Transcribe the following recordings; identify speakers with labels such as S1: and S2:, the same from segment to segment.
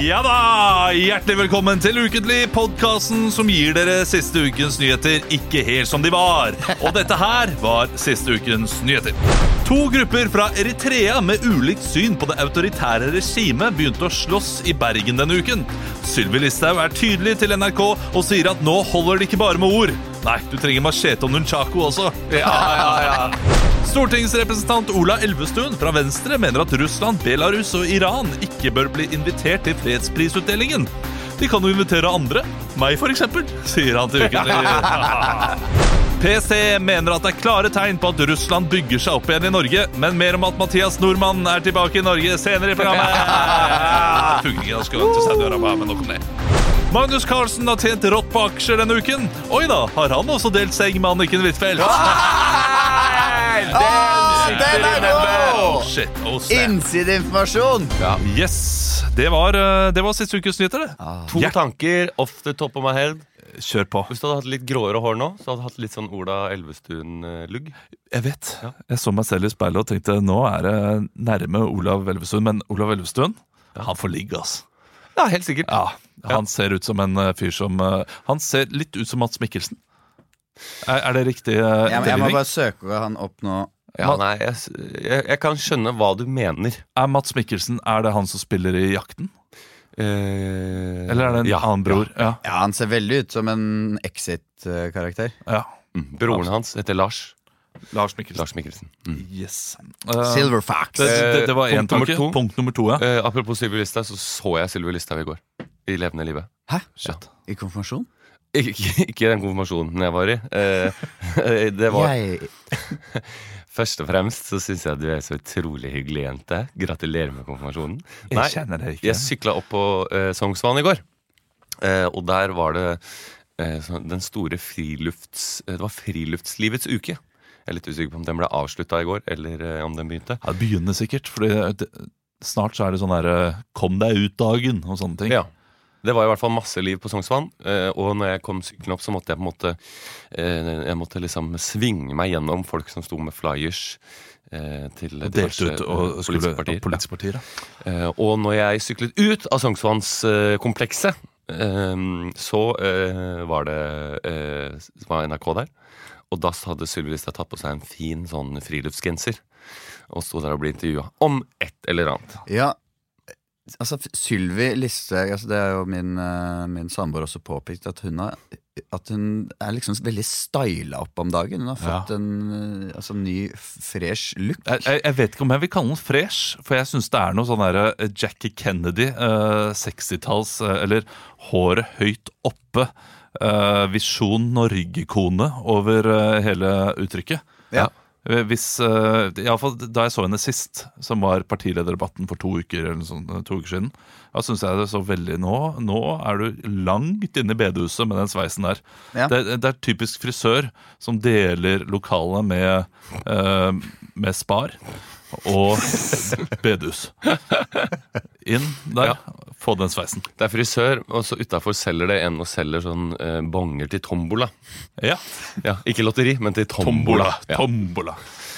S1: Ja da! Hjertelig velkommen til Ukentlig, podkasten som gir dere siste ukens nyheter ikke helt som de var. Og dette her var siste ukens nyheter. To grupper fra Eritrea med ulikt syn på det autoritære regimet begynte å slåss i Bergen denne uken. Sylvi Listhaug er tydelig til NRK og sier at nå holder det ikke bare med ord. Nei, du trenger machete og nunchaku også. Ja, ja, ja. Stortingsrepresentant Ola Elvestuen fra Venstre mener at Russland, Belarus og Iran ikke bør bli invitert til fredsprisutdelingen. De kan jo invitere andre. Meg, for eksempel, sier han til ukentlig. PST mener at det er klare tegn på at Russland bygger seg opp igjen i Norge. Men mer om at Mathias Nordmann er tilbake i Norge senere i programmet. Fugningen skulle ønske seg døra på, men nok om det. Magnus Carlsen har tjent rått på aksjer denne uken. Oi da, har han også delt seng med Anniken Huitfeldt?
S2: Den er god!
S1: Shit, oh snap.
S2: Innsideinformasjon!
S1: Yes, det var, eh, det var siste ukes nyheter, det.
S3: To
S1: Ja.
S3: tanker off the top of my head.
S1: Kjør på.
S3: Hvis du hadde hatt litt gråere hår nå, så hadde du hatt litt sånn Ola Elvestuen-lugg.
S1: Jeg vet. Jeg så meg selv i speilet og tenkte nå er det nærme Olav Elvestuen. Men Olav Elvestuen, han får ligge, ass.
S3: Ja, helt sikkert.
S1: Ja, han ser ut som en eh, fyr som eh, Han ser litt ut som Mats Mikkelsen. Er, er det riktig? eh,
S2: Jeg, jeg må
S1: delgivning?
S2: bare søke han opp nå.
S3: Ja, nei, jeg, s- jeg, jeg kan skjønne hva du mener.
S1: Er Mats Mikkelsen er det han som spiller i Jakten?
S3: Eh,
S1: Eller er det en
S3: ja,
S1: annen bror? Ja.
S2: Ja, han ser veldig ut som en Exit-karakter.
S1: Ja.
S3: Ja. Mm, Broren hans heter Lars.
S1: Lars Mikkelsen.
S3: Lars Mikkelsen. Mm.
S1: Yes. Eh,
S2: Silver Fox.
S1: det, det, det var
S3: Eh,
S1: én
S3: punkt nummer
S1: tanke.
S3: to.
S1: Punkt nummer to, ja.
S3: Eh, apropos Sylvi Listhaug, så så jeg Sylvi Listhaug i går. I levende livet.
S2: Hæ?
S3: Ja.
S2: I konfirmasjon?
S3: Ikke, ikke, ikke den konfirmasjonen jeg var i. Eh, det var
S2: Jeg,
S3: Først og fremst så syns jeg du er så utrolig hyggelig jente. Gratulerer med konfirmasjonen.
S1: Jeg kjenner det ikke.
S3: Jeg sykla opp på eh, Sognsvann i går, eh, og der var det eh, sånn- den store frilufts... eh, det var friluftslivets uke. Jeg er litt usikker på om den ble avslutta i går, eller eh, om den begynte.
S1: Ja, det begynner sikkert, fordi det, snart så er det sånn der eh, 'kom deg ut-dagen' og sånne ting.
S3: Ja. Det var i hvert fall masse liv på Sognsvann. eh, Og når jeg kom syklende opp, så måtte jeg på en måte eh, Jeg måtte liksom svinge meg gjennom folk som sto med flyers eh, til
S1: Og delte ut og skulle
S3: politiske
S1: og politiske partier.
S3: Eh, og når jeg syklet ut av Sognsvannskomplekset, så eh, var det eh, var NRK der. Og da hadde Sylvi Listhaug tatt på seg en fin sånn friluftsgenser. Og sto der og ble intervjua om et eller annet.
S2: ja, altså Sylvi Listhaug altså, Det er jo min, eh, min samboer også påpekt at hun, har, at hun er liksom veldig styla opp om dagen. Hun har fått en eh, altså, ny, fresh look.
S1: Jeg, jeg, jeg vet ikke om jeg vil kalle den fresh, for jeg syns det er noe sånn der eh, Jackie Kennedy, eh, 60-talls, eh, eller håret høyt oppe, eh, Visjon Norge-kone over eh, hele uttrykket.
S2: Ja.
S1: Eh, Hvis, eh, i alle fall da jeg så henne sist, som var partilederdebatten for to uker, eller noe sånt, eh, to uker siden, da syns jeg det så veldig Nå Nå er du langt inne i bedehuset med den sveisen der.
S2: Ja.
S1: Det, er- det er typisk frisør som deler lokalet med, eh, med Spar og bedehus. Inn der, få den sveisen.
S3: Det er frisør, og så utafor selger det en og selger sånn eh, bonger til tombola.
S1: Ja.
S3: Ja, ikke lotteri, men til tombola.
S1: Tombola.
S3: Ja.
S1: Tombola.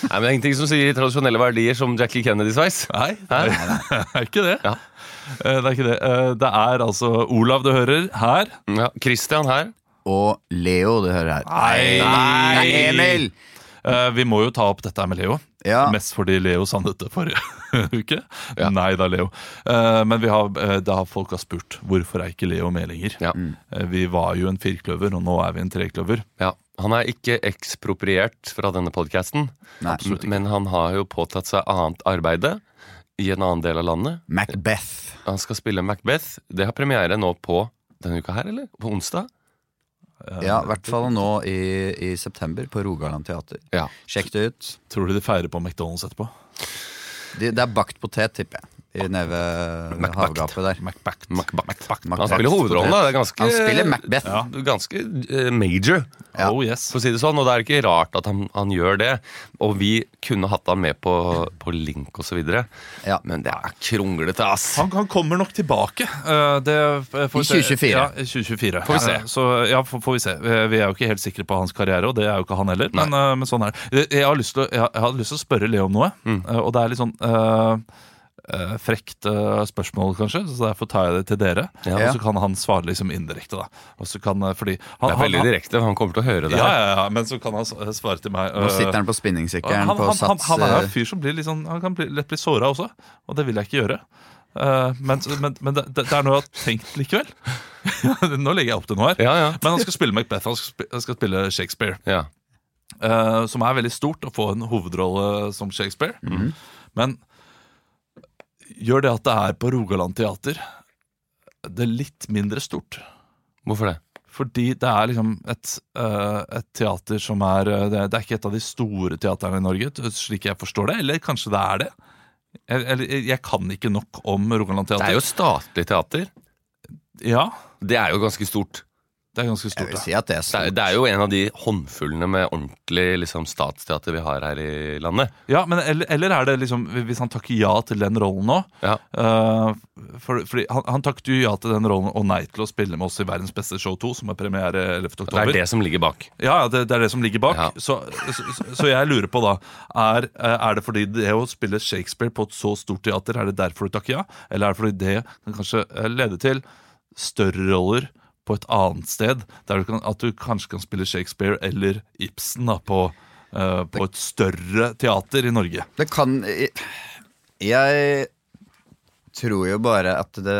S3: Nei, men det er ingenting som sier tradisjonelle verdier som Jackie Kennedy-sveis.
S1: Nei,
S3: Hæ?
S1: det er ikke det.
S3: Ja.
S1: Eh, Det er ikke det. Eh, Det er altså Olav du hører her.
S3: Ja, Christian her.
S2: Og Leo, du hører her. Nei, Emil!
S1: Eh, Vi må jo ta opp dette her med Leo.
S2: Ja,
S1: Mest fordi Leo sa dette forrige uke.
S3: Ja.
S1: Nei da, Leo. Eh, Men vi har, eh, da har folk har spurt hvorfor er ikke Leo med lenger.
S3: Ja.
S1: Eh, Vi var jo en firkløver, og nå er vi en trekløver.
S3: Ja, Han er ikke ekspropriert fra denne podkasten,
S2: Nei.
S3: men han har jo påtatt seg annet arbeide i en annen del av landet.
S2: Macbeth.
S3: Han skal spille Macbeth. Det har premiere nå på denne uka her, eller? På onsdag?
S2: Ja, i hvert fall nå i, i september på Rogaland Teater.
S3: Ja.
S2: Sjekk det ut.
S1: Tror du de feirer på McDonald's etterpå?
S2: De, det er bakt potet, tipper jeg. I nede ved
S3: Macbakt.
S2: havgapet der.
S1: McBack.
S3: Macbeth.
S2: Macbeth.
S3: Han spiller hovedrollen, da. Det er ganske,
S2: Han spiller Macbeth.
S3: Ja, ganske eh, major,
S2: Ja.
S1: Oh yes.
S3: for å si det sånn. Og det er ikke rart at han, han gjør det. Og vi kunne hatt han med på, på link osv.
S2: Ja.
S3: Men det er kronglete, ass.
S1: Han, han kommer nok tilbake. eh, Det eh, får vi se.
S2: I 2024.
S1: Ja, i 2024.
S3: Får vi se.
S1: Eh, Så, ja, får, får vi se. Eh, Vi er jo ikke helt sikre på hans karriere, og det er jo ikke han heller. Men, eh, men sånn er det. Jeg har lyst til å, jeg har- jeg har lyst til å spørre Leo om noe,
S3: Mm.
S1: eh, og det er litt sånn eh, eh, frekt eh, spørsmål, kanskje, så derfor tar jeg det til dere.
S3: Ja.
S1: Og så kan han svare liksom indirekte, da. Og så kan, eh, fordi han,
S3: Det er veldig
S1: han,
S3: direkte. Han kommer til å høre
S1: han,
S3: det.
S1: ja,
S3: her
S1: ja, ja, men så kan han s- svare til meg.
S2: Nå
S1: eh,
S2: sitter han på
S1: han,
S2: spinningsykkelen
S1: han,
S2: på
S1: han, han,
S2: Sats.
S1: han er
S2: eh,
S1: en fyr som blir litt sånn Han kan bli, lett bli såra også, og det vil jeg ikke gjøre. Eh, men men, men det, det er noe jeg har tenkt likevel. Nå legger jeg opp til noe her.
S3: Ja, ja.
S1: Men han skal spille Macbeth, han skal spille, han skal spille Shakespeare.
S3: ja.
S1: eh, som er veldig stort å få en hovedrolle som Shakespeare.
S2: Mhm.
S1: Men gjør det at det er på Rogaland teater, det er litt mindre stort.
S3: Hvorfor det?
S1: Fordi det er liksom et, eh, et teater som er eh, det, det er ikke et av de store teaterne i Norge, t- slik jeg forstår det. Eller kanskje det er det. Jeg, eller, jeg kan ikke nok om Rogaland
S3: Det
S1: teater.
S3: er jo statlig teater.
S1: Ja,
S3: Det er jo ganske stort.
S1: det er ganske
S2: Jeg vil
S1: stort.
S2: si at det
S3: Det
S2: er
S3: er,
S2: stort.
S3: det er jo en av de håndfullene med ordentlig liksom, statsteater vi har her i landet.
S1: Ja, ja men eller, eller er det liksom Hvis han takker ja til den rollen nå
S3: Ja.
S1: eh, for, Fordi han, han takket jo ja til den rollen og nei til å spille med oss i Verdens beste show 2, som er premiere 11. oktober.
S3: Det er det som ligger bak.
S1: Ja, ja, det, det er det som ligger bak.
S3: Ja.
S1: Så, så, så jeg lurer på, da er, eh, er det fordi det å spille Shakespeare på et så stort teater, er det derfor du takker ja? Eller er det fordi det kan kanskje eh, lede til større roller på et annet sted? Der du kan, at du kanskje kan spille Shakespeare eller Ibsen da, på, eh, på et større teater i Norge?
S2: Det kan Jeg tror jo bare at det,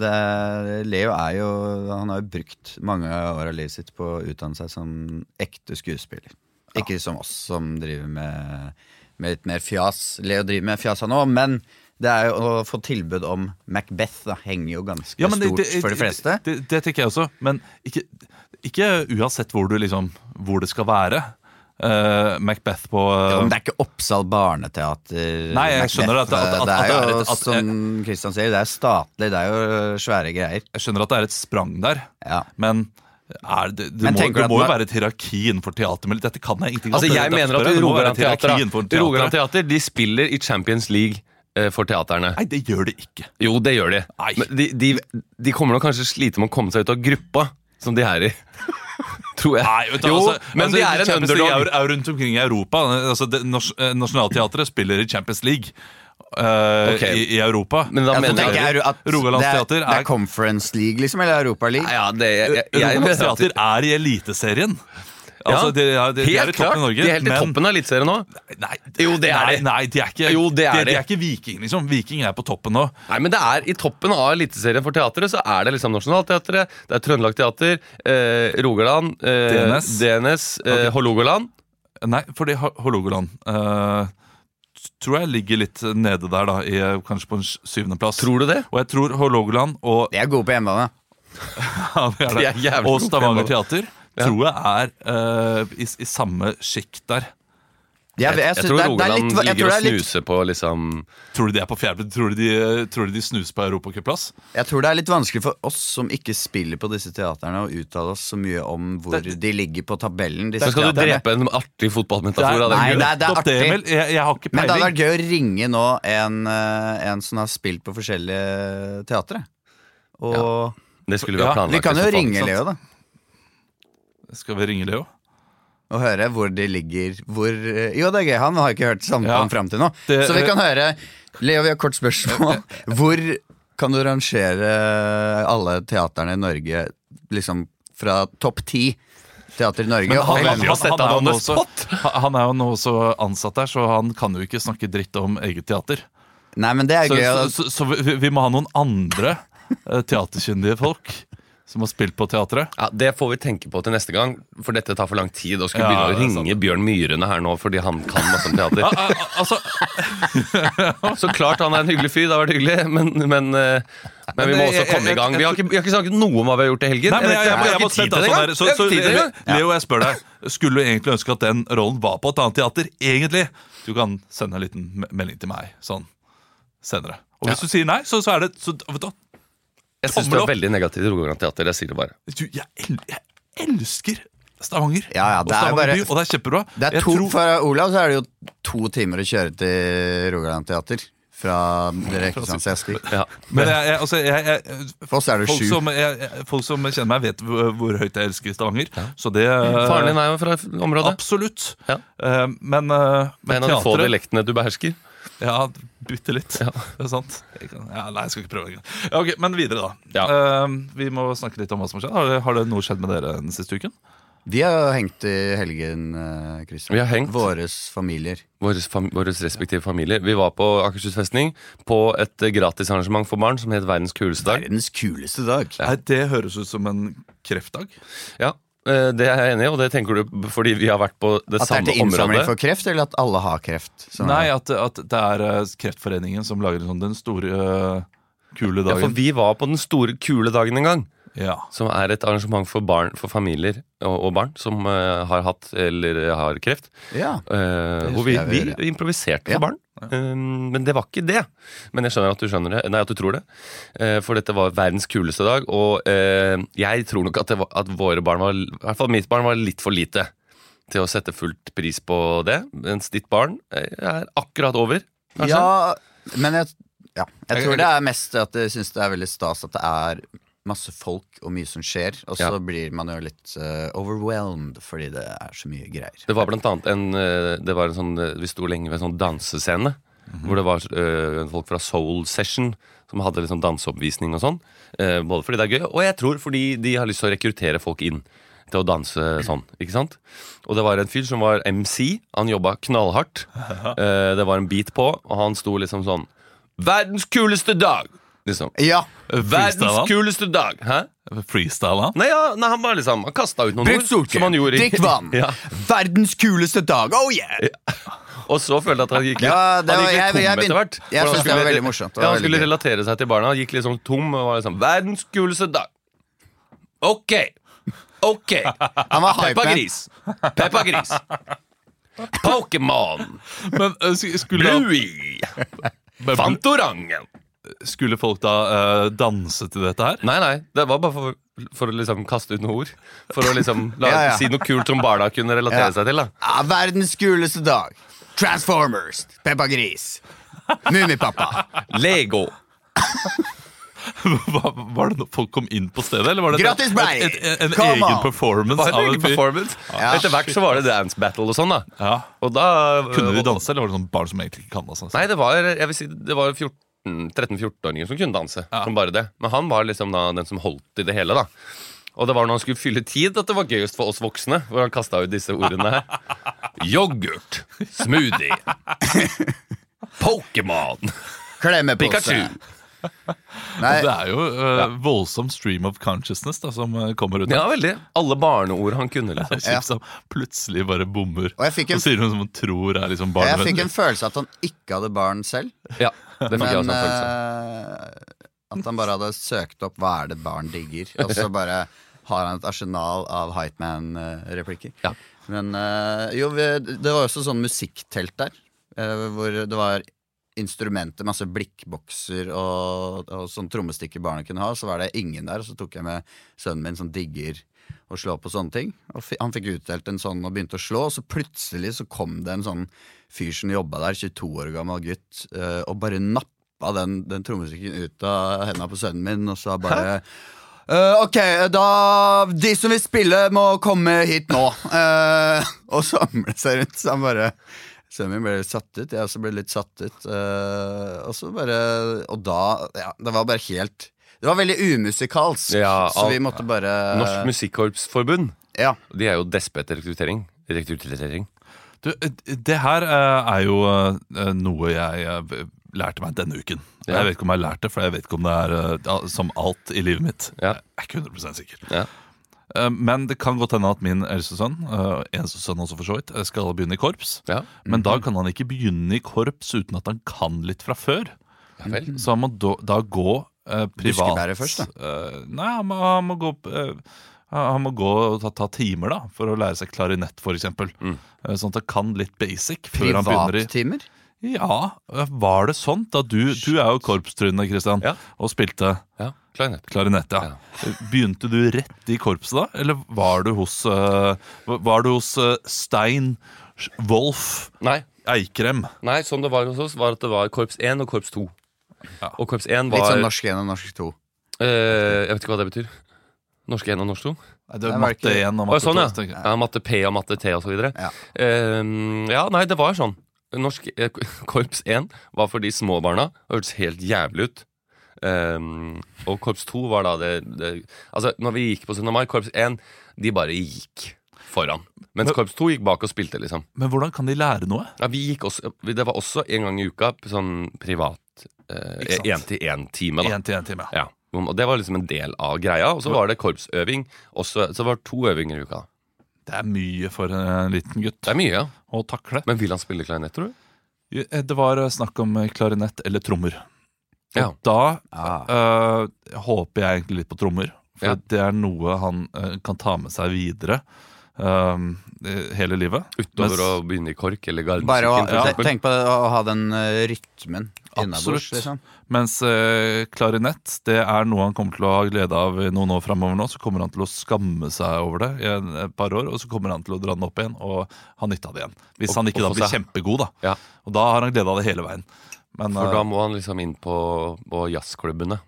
S2: det er- Leo er jo Han har jo brukt mange år av livet sitt på å utdanne seg som ekte skuespiller. Ikke som oss som driver med, med litt mer fjas. Leo driver med fjas han òg, men det er jo å få tilbud om Macbeth da, henger jo ganske
S1: Ja, men
S2: stort for de fleste.
S1: Det, det, det tenker jeg også, men ikke, ikke uansett hvor du liksom Hvor det skal være. Eh, Macbeth på
S2: Ja, men det er ikke Oppsal barneteater.
S1: Nei, jeg skjønner at- at- at- at
S2: det er
S1: det er
S2: jo,
S1: et- at-
S2: som Kristian sier, det er statlig. Det er jo svære greier.
S1: Jeg skjønner at det er et sprang der,
S2: Ja.
S1: men er det, det,
S2: Men
S1: må,
S2: tenker du
S1: det
S2: at
S1: må jo
S2: man-
S1: være et hierarki innenfor teater. Men dette kan jeg ingenting
S3: Altså,
S1: om.
S3: jeg
S1: Dette
S3: mener
S1: spør
S3: at
S1: jeg. Det må være
S3: Rogaland
S1: et hierarki
S3: Teater,
S1: innenfor
S3: da-
S1: teater.
S3: Rogaland Teater de spiller i Champions League eh, for teaterne.
S1: Nei, det gjør det ikke.
S3: Jo, det gjør de.
S1: Nei.
S3: Men de, de, de kommer nok kanskje slite med å komme seg ut av gruppa som de er i. Tror jeg.
S1: Nei, vet du,
S3: jo,
S1: altså,
S3: men de er en
S1: Champions League
S3: underdog.
S1: Er, er rundt omkring i Europa. Altså, det, nas, eh, nasjonalteatret spiller i Champions League eh,
S3: Ok.
S1: i, i Europa.
S3: Men da
S2: Ja, så
S3: mener
S2: tenker
S3: jeg
S2: jeg at
S1: Rogalands
S2: det er,
S1: teater
S2: Det
S1: er-
S2: er Conference League, liksom, eller Europa League?
S3: Ja, det, jeg, jeg, jeg
S1: Rogalands
S3: mener at de-
S1: teater er i Eliteserien. Altså, de, er- de, de er i
S3: Helt klart.
S1: toppen i Norge.
S3: de er helt i
S1: men-
S3: toppen av Eliteserien nå.
S1: Nei,
S3: Jo, det er
S1: nei,
S3: de.
S1: Nei, de er ikke,
S3: Jo, det er
S1: de, de
S3: de.
S1: er ikke Viking, liksom. Viking er på toppen nå.
S3: Nei, men det er I toppen av Eliteserien for teatret så er det liksom Nationaltheatret, det er Trøndelag Teater, eh, Rogaland, eh,
S1: DNS.
S3: DNS eh, Hålogaland.
S1: Nei, fordi Ho- Hålogaland eh, t- tror jeg ligger litt nede der, da. I, eh, kanskje på en sj- syvendeplass.
S3: Tror du det?
S1: Og jeg tror Hålogaland og,
S2: De er gode på hjemmebane.
S1: ja, det er
S3: De er
S1: det.
S3: jævlig
S1: og
S3: gode
S1: Stavanger
S3: på
S1: Teater tror jeg er eh, i, s- i samme sjikt der.
S2: De er, jeg,
S3: Jeg
S2: synes
S3: tror
S2: det er- det er
S3: Rogaland
S2: litt- jeg
S3: ligger
S2: tror det
S3: og
S2: er litt-
S3: snuser på liksom
S1: Tror du de er på fjerde? Tror du de, eh, tror du de snus på europacupplass?
S2: Jeg tror det er litt vanskelig for oss som ikke spiller på disse teaterne, å uttale oss så mye om hvor de ligger på tabellen. Disse
S3: Så skal du
S2: teaterne.
S3: drepe en artig fotballmetafor av
S2: Nei,
S3: den
S2: det er- det er
S1: Stopp det,
S2: artig.
S1: Emil. Jeg, jeg har ikke
S2: Men det hadde
S1: peiling.
S2: vært gøy å ringe nå en, eh, en som har spilt på forskjellige teatre. Og
S3: Det skulle vi ha
S1: Ja,
S3: planlagt.
S2: Vi kan
S3: i så
S2: jo
S3: fall, ikke
S2: ringe
S3: sant?
S2: Leo, da.
S1: Skal vi ringe Leo?
S2: Og høre hvor de ligger hvor, eh, Jo, det er gøy, han har ikke hørt samtalen
S1: Ja.
S2: fram til nå.
S1: Det- eh,
S2: så vi kan høre Leo, vi har kort spørsmål. Hvor kan du rangere alle teaterne i Norge liksom fra topp ti teater i Norge? og
S3: han-
S2: hvem-
S3: aldri å sette
S1: er
S3: han
S1: jo
S3: on the
S1: nå også- han- han er jo nå også ansatt der, så han kan jo ikke snakke dritt om eget teater.
S2: Nei, men det er
S1: Så,
S2: gøy.
S1: så,
S2: da.
S1: så, så vi, vi må ha noen andre eh, teaterkyndige folk som har spilt på teatret.
S3: Ja, Det får vi tenke på til neste gang, for dette tar for lang tid. Og skulle
S1: Ja,
S3: begynne å
S1: det er
S3: ringe Bjørn Myrene her nå fordi han kan masse om teater.
S1: Al- al- Altså,
S3: Så klart han er en hyggelig fyr, det har vært hyggelig, men, men eh, Men vi må
S1: Men
S3: også
S1: jeg-
S3: komme
S1: jeg-
S3: i gang. Vi har ikke, vi har ikke snakket noe om hva vi har gjort i helgen.
S1: Nei, men jeg, jeg,
S3: vet
S1: jeg, jeg
S3: ikke
S1: må
S3: om
S1: sette
S3: tid til det
S1: altså,
S3: engang. Jeg har
S1: der, så, så,
S3: ikke tid til det engang.
S1: Leo, jeg spør deg. Skulle du egentlig ønske at den rollen var på et annet teater? Egentlig. Du kan sende en liten me- melding til meg sånn senere. Og hvis du sier nei, så, så er det så, vet du, hva?
S3: Jeg syns du
S1: Tommel
S3: er
S1: opp.
S3: veldig negativ til Rogaland Teater. Jeg sier det bare.
S1: du, jeg, el jeg elsker Stavanger.
S2: Ja, ja,
S1: og
S2: det er
S1: Stavanger
S2: bare-
S1: by, og det er kjempebra.
S2: Det er
S1: Jeg
S2: to,
S1: tror-
S2: Fra Olav så er det jo to timer å kjøre til Rogaland Teater fra Rekkestrandsesker.
S3: Ja.
S1: men jeg, jeg, altså, jeg, jeg,
S2: For oss er det
S1: folk,
S2: sju.
S1: som, jeg, jeg- folk som kjenner meg, vet hvor, hvor høyt jeg elsker Stavanger. Så det
S2: Mm.
S3: Faren din er jo fra området.
S1: Eh, Absolutt.
S3: Ja.
S1: Eh, men eh,
S3: Det er
S1: men
S3: en av de få
S1: teatret
S3: dialektene du behersker.
S1: Ja, bitte litt.
S3: Ja.
S1: Det er sant. Jeg kan, ja, nei, jeg skal ikke prøve engang. Ja, ok, men videre, da.
S3: Ja.
S1: Eh, vi må snakke litt om hva som har skjedd. Har det, har det noe skjedd med dere den siste uken?
S2: Vi har jo hengt i helgen, eh, Christian.
S3: Vi har hengt.
S2: Våres familier.
S3: Våres, fam våres respektive familier. Vi var på Akershus festning på et eh, gratisarrangement for barn som het Verdens kuleste dag.
S2: Verdens kuleste dag.
S1: Nei, Det høres ut som en kreftdag.
S3: Ja, eh, Det er jeg enig i, og det tenker du b- fordi vi har vært på det
S2: At det er
S3: samme
S2: til innsamling
S3: området.
S2: for kreft, eller at alle har kreft? Sånn.
S1: Nei, at, at det er eh, Kreftforeningen som lager sånn den store, eh, kule
S3: Ja, for
S1: dagen.
S3: vi var på den store kule dagen en gang,
S1: Ja,
S3: som er et arrangement for barn, for familier og, og barn som eh, har hatt eller har kreft.
S2: Ja.
S3: Eh, hvor vi,
S2: husker jeg vi
S3: vi
S2: gjorde,
S3: improviserte
S2: Ja.
S3: for barn. Eh, men det var ikke det. Men jeg skjønner at du skjønner det Nei, at du tror det. Eh, for dette var verdens kuleste dag, og eh, jeg tror nok at, det var, at våre barn var I hvert fall mitt barn var litt for lite til å sette fullt pris på det. Mens ditt barn eh, er akkurat over, kanskje.
S2: Ja, men jeg, ja. jeg
S3: Jeg-
S2: tror det er mest at jeg syns det er veldig stas at det er masse folk og mye som skjer, og så
S3: Ja.
S2: blir man jo litt eh, overwhelmed fordi det er så mye greier.
S3: Det var blant annet en, eh, det var en sånn, eh, Vi sto lenge ved en sånn dansescene. Hvor det var eh, folk fra Soul Session som hadde liksom danseoppvisning og sånn. eh, både fordi det er gøy, og jeg tror fordi de har lyst til å rekruttere folk inn til å danse sånn. ikke sant? Og det var en fyr som var MC. Han jobba knallhardt. Eh, det var en beat på, og han sto liksom sånn Verdens kuleste dag! Liksom.
S2: Ja!
S3: Verdens
S1: Freestyle,
S3: kuleste dag! Hæ?
S1: Freestyle, da?
S3: Nei, ja, nei, han bare liksom Han kasta ut noen ord. Som han gjorde i-
S2: drikk vann!
S3: Ja.
S2: Verdens kuleste dag! Oh yeah!
S3: Og så følte jeg at han gikk litt,
S2: Ja, det
S3: han
S2: var-
S3: gikk litt
S2: jeg-
S3: tom
S2: jeg begynte-
S3: etter hvert.
S2: jeg
S3: For han
S2: synes det var
S3: skulle-
S2: veldig morsomt. Det var
S3: Ja, han
S2: veldig
S3: skulle
S2: gøy.
S3: relatere seg til barna. Han gikk liksom tom og var liksom 'Verdens kuleste dag'. Ok. Ok.
S2: Han var hype,
S3: Peppa
S2: man.
S3: Gris. Peppa Gris. Pokémon.
S1: Men eh, sk- skulle, da-
S3: Bluey. Fantorangen.
S1: skulle folk da eh, danse til dette her?
S3: Nei, nei. Det var bare for, for å liksom kaste ut noen ord. For å liksom la,
S2: Ja, ja.
S3: si noe kult som barna kunne relatere
S2: Ja.
S3: seg til. da
S2: Ja, verdens kuleste dag. Transformers. Peppa Gris. Mummipappa.
S3: Lego.
S1: Hva, var det noe folk kom inn på stedet, eller var det
S2: Gratis brei!
S1: et, et, en
S2: Come
S1: egen
S2: on!
S1: performance?
S3: Bare
S1: av en
S3: egen
S1: fyr?
S3: performance.
S2: Ja.
S3: Etter hvert så var det dance battle og sånn. da
S1: Ja.
S3: Og da
S1: Kunne de danse, eller var det sånn barn som egentlig ikke kan danse?
S3: Nei, det var, jeg vil si, det var 14 13-14-åringer som kunne danse. Som bare det. Men han var liksom da den som holdt i det hele. da Og det var når han skulle fylle tid at det var gøyest for oss voksne. Hvor han kasta ut disse ordene her. Yoghurt. Smoothie. Pokémon.
S2: Klemmepose.
S3: Pikachu.
S2: Nei,
S1: Det er jo eh, voldsom stream of consciousness da, som eh, kommer ut.
S3: Ja,
S1: av
S3: veldig. Alle barneord han kunne, liksom.
S1: Kjipt som plutselig bare bommer.
S2: Og jeg fikk en-
S1: så sier hun som hun tror er liksom
S2: jeg fikk en
S1: barnevennlig.
S2: følelse at han ikke hadde barn selv.
S3: Ja, det fikk jeg
S2: Men
S3: også en følelse av.
S2: eh, at han bare hadde søkt opp 'hva er det barn digger', og så bare har han et arsenal av Hypeman-replikker.
S3: Ja.
S2: Men eh, jo, vi- det var også sånn musikktelt der, eh, hvor det var instrumenter, masse blikkbokser og, og sånn trommestikker barna kunne ha. Så var det ingen der, og så tok jeg med sønnen min som digger å slå på sånne ting. Og fi- han fikk utdelt en sånn og begynte å slå, og så plutselig så kom det en sånn fyr som jobba der, 22 år gammel gutt, eh, og bare nappa den, den trommestikken ut av henda på sønnen min, og sa bare «Eh, ok, da De som vil spille, må komme hit nå. Eh, og samle seg rundt. Så han bare Sønnen min ble litt satt ut. Jeg også ble litt satt ut. eh, og så bare Og da Ja, det var bare helt Det var veldig umusikalsk,
S3: Ja,
S2: så
S3: al-
S2: vi måtte bare
S3: Norsk Musikkorpsforbund.
S2: Ja.
S3: De er jo despe etter rekruttering. Rekruttering.
S1: Du, eh, det her eh, er jo eh, noe jeg eh, lærte meg denne uken.
S3: Ja.
S1: Jeg vet ikke om jeg har lært det, for jeg vet ikke om det er eh, ja, som alt i livet mitt.
S3: Ja.
S1: Jeg er ikke 100 sikker.
S3: Ja.
S1: Eh, Men det kan godt hende at min eldste sønn, eh, eneste sønn også for så vidt, eh, skal begynne i korps.
S3: Ja. Mhm.
S1: Men da kan han ikke begynne i korps uten at han kan litt fra før.
S3: ja vel.
S1: Så han må da, da gå eh, privat
S2: Buskebæret først,
S1: Eh, nei, han må, han må gå opp, eh, han han må gå og ta, ta timer da for å lære seg klarinett, f.eks. Mm.
S3: Mm.
S1: Sånn at han kan litt basic før han begynner i
S2: Privattimer?
S1: Ja, eh, var det sånn da du Du er jo korpstryne, Christian,
S3: Ja.
S1: og spilte
S3: Ja, klarinett.
S1: klarinett, ja. Begynte du rett i korpset da, eller var du hos, eh, var du hos eh, Stein Wolf
S3: Nei,
S1: Eikrem?
S3: nei, sånn det var hos oss, var at det var korps 1 og korps 2.
S1: Ja.
S3: Og korps 1 var
S2: Litt sånn norsk 1 og norsk 2.
S3: eh, Jeg vet ikke hva det betyr. Norsk 1 og norsk 2.
S1: Nei, det
S2: Nei,
S1: var
S2: var det
S1: matte
S2: ikke-
S1: 1 og
S3: Å,
S1: matte
S3: sånn,
S1: 2, tenker
S3: ja.
S1: jeg.
S3: ja. Matte P og matte T og så videre.
S2: Ja.
S3: Ehm, ja, nei, det var sånn. Norsk eh, Korps 1 var for de små barna. Det hørtes helt jævlig ut. Ehm, og Korps 2 var da det, det Altså, når vi gikk på 17. mai, Korps 1, de bare gikk foran. Mens
S1: Men-
S3: Korps 2 gikk bak og spilte, liksom.
S1: Men hvordan kan de lære noe?
S3: Ja, vi gikk også, vi- det var også en gang i uka sånn privat eh,
S1: Ikke sant.
S3: én-til-én-time, da.
S1: Én til én time. ja.
S3: Ja. Og det var liksom en del av greia. Og så var det korpsøving. Også, så det var to øvinger i uka. da.
S1: Det er mye for en eh, liten gutt
S3: Det er mye, ja.
S1: å takle.
S3: Men vil han spille klarinett, tror du?
S1: Eh, Det var eh, snakk om eh, klarinett eller trommer. Og
S3: Ja.
S1: da
S2: Ah.
S1: eh, håper jeg egentlig litt på trommer, for
S3: Ja.
S1: det er noe han eh, kan ta med seg videre eh, hele livet.
S3: Utover
S1: Mens-
S3: å begynne i kork eller
S2: Bare å,
S3: gardemusikken. for
S1: ja.
S3: eksempel.
S2: tenk på å ha den eh, rytmen innabords,
S1: Absolutt.
S2: liksom.
S1: Mens eh, klarinett det er noe han kommer til å ha glede av i noen år framover. Nå, så kommer han til å skamme seg over det i en- et par år, og så kommer han til å dra den opp igjen og ha nytte av det igjen. Hvis
S3: Og-
S1: han ikke da
S3: og få
S1: blir
S3: seg-
S1: kjempegod, da.
S3: Ja.
S1: Og da har han glede av det hele veien. Men
S3: For da
S1: eh,
S3: må han liksom inn på, på jazzklubbene,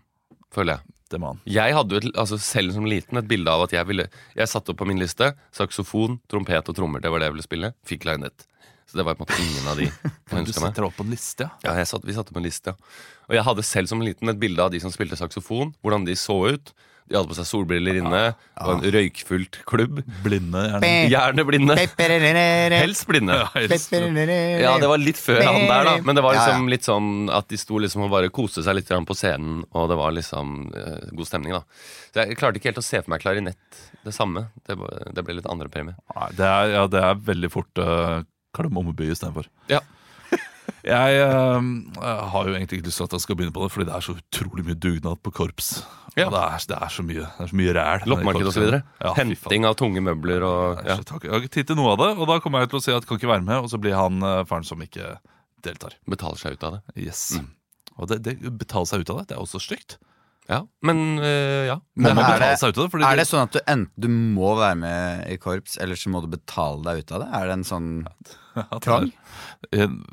S3: føler jeg.
S1: det må han.
S3: Jeg hadde jo et, altså selv som liten et bilde av at jeg ville Jeg satte opp på min liste saksofon, trompet og trommer. Det var det jeg ville spille. Fikk klarinett. Så det var på en måte ingen av de jeg
S1: Du
S3: ønsket meg.
S1: setter deg opp på en liste, ja.
S3: Ja, jeg satt, Vi satte på en liste, ja. Og jeg hadde selv som liten et bilde av de som spilte saksofon. Hvordan de så ut. De hadde på seg solbriller inne. Det var en røykfullt klubb.
S1: Blinde gjerne.
S2: Bing.
S3: Gjerne blinde.
S2: Helst.
S3: Helst blinde.
S1: Ja, helst.
S3: Ja,
S2: Ja,
S3: det var litt før han der, da. Men det var
S2: Ja, ja.
S3: liksom litt sånn at de sto liksom og bare koste seg litt grann på scenen, og det var liksom eh, god stemning, da. Så jeg klarte ikke helt å se for meg klarinett det samme. Det, var- det ble litt andre premie.
S1: Nei, det er, ja, det er veldig fort uh, kardemommeby istedenfor.
S3: Ja.
S1: Jeg eh, har jo egentlig ikke lyst til at jeg skal begynne på det, fordi det er så utrolig mye dugnad på korps.
S3: Ja.
S1: Og det, er, det er så mye det er så mye ræl.
S3: Loppemarked og så videre.
S1: Ja, fy faen.
S3: Henting av tunge møbler og
S1: Nei,
S3: ja.
S1: så takk. Jeg har ikke tid til noe av det, og da kommer jeg til å si at kan ikke være med, og så blir han eh, faren som ikke deltar.
S3: betaler seg ut av det.
S1: Yes. Og det, det betaler seg ut av det. Det er også stygt.
S3: Ja, Men eh, ja.
S1: Må
S2: Men
S1: man
S2: er
S1: betale
S2: det-
S1: seg ut av det? Fordi
S2: Er det sånn at du enten du må være med i korps, eller så må du betale deg ut av det? Er det en sånn
S1: at det er-
S2: trang?
S1: Eh,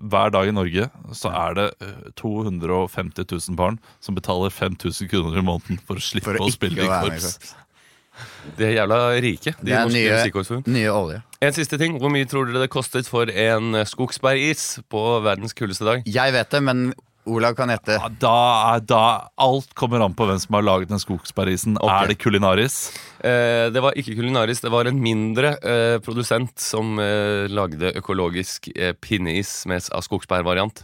S1: Hver dag i Norge så er det eh, 250 000 barn som betaler 5000 kroner i måneden for å slippe
S2: For
S1: å,
S2: å ikke
S1: spille i
S2: være med i
S1: korps.
S3: De er jævla rike, de
S2: Det er
S3: norske
S2: nye-
S3: musikkorpsene.
S2: Nye olje.
S3: En siste ting. Hvor mye tror dere det kostet for en eh, skogsbæris på verdens kuldeste dag?
S2: Jeg vet det, men Olav kan gjette.
S1: Ja, Da, er- da Alt kommer an på hvem som har laget den skogsparisen.
S3: Ok.
S1: Er det kulinaris?
S3: Eh, det var ikke kulinaris, det var en mindre eh, produsent som eh, lagde økologisk eh, pinneis med, s- av skogsbærvariant.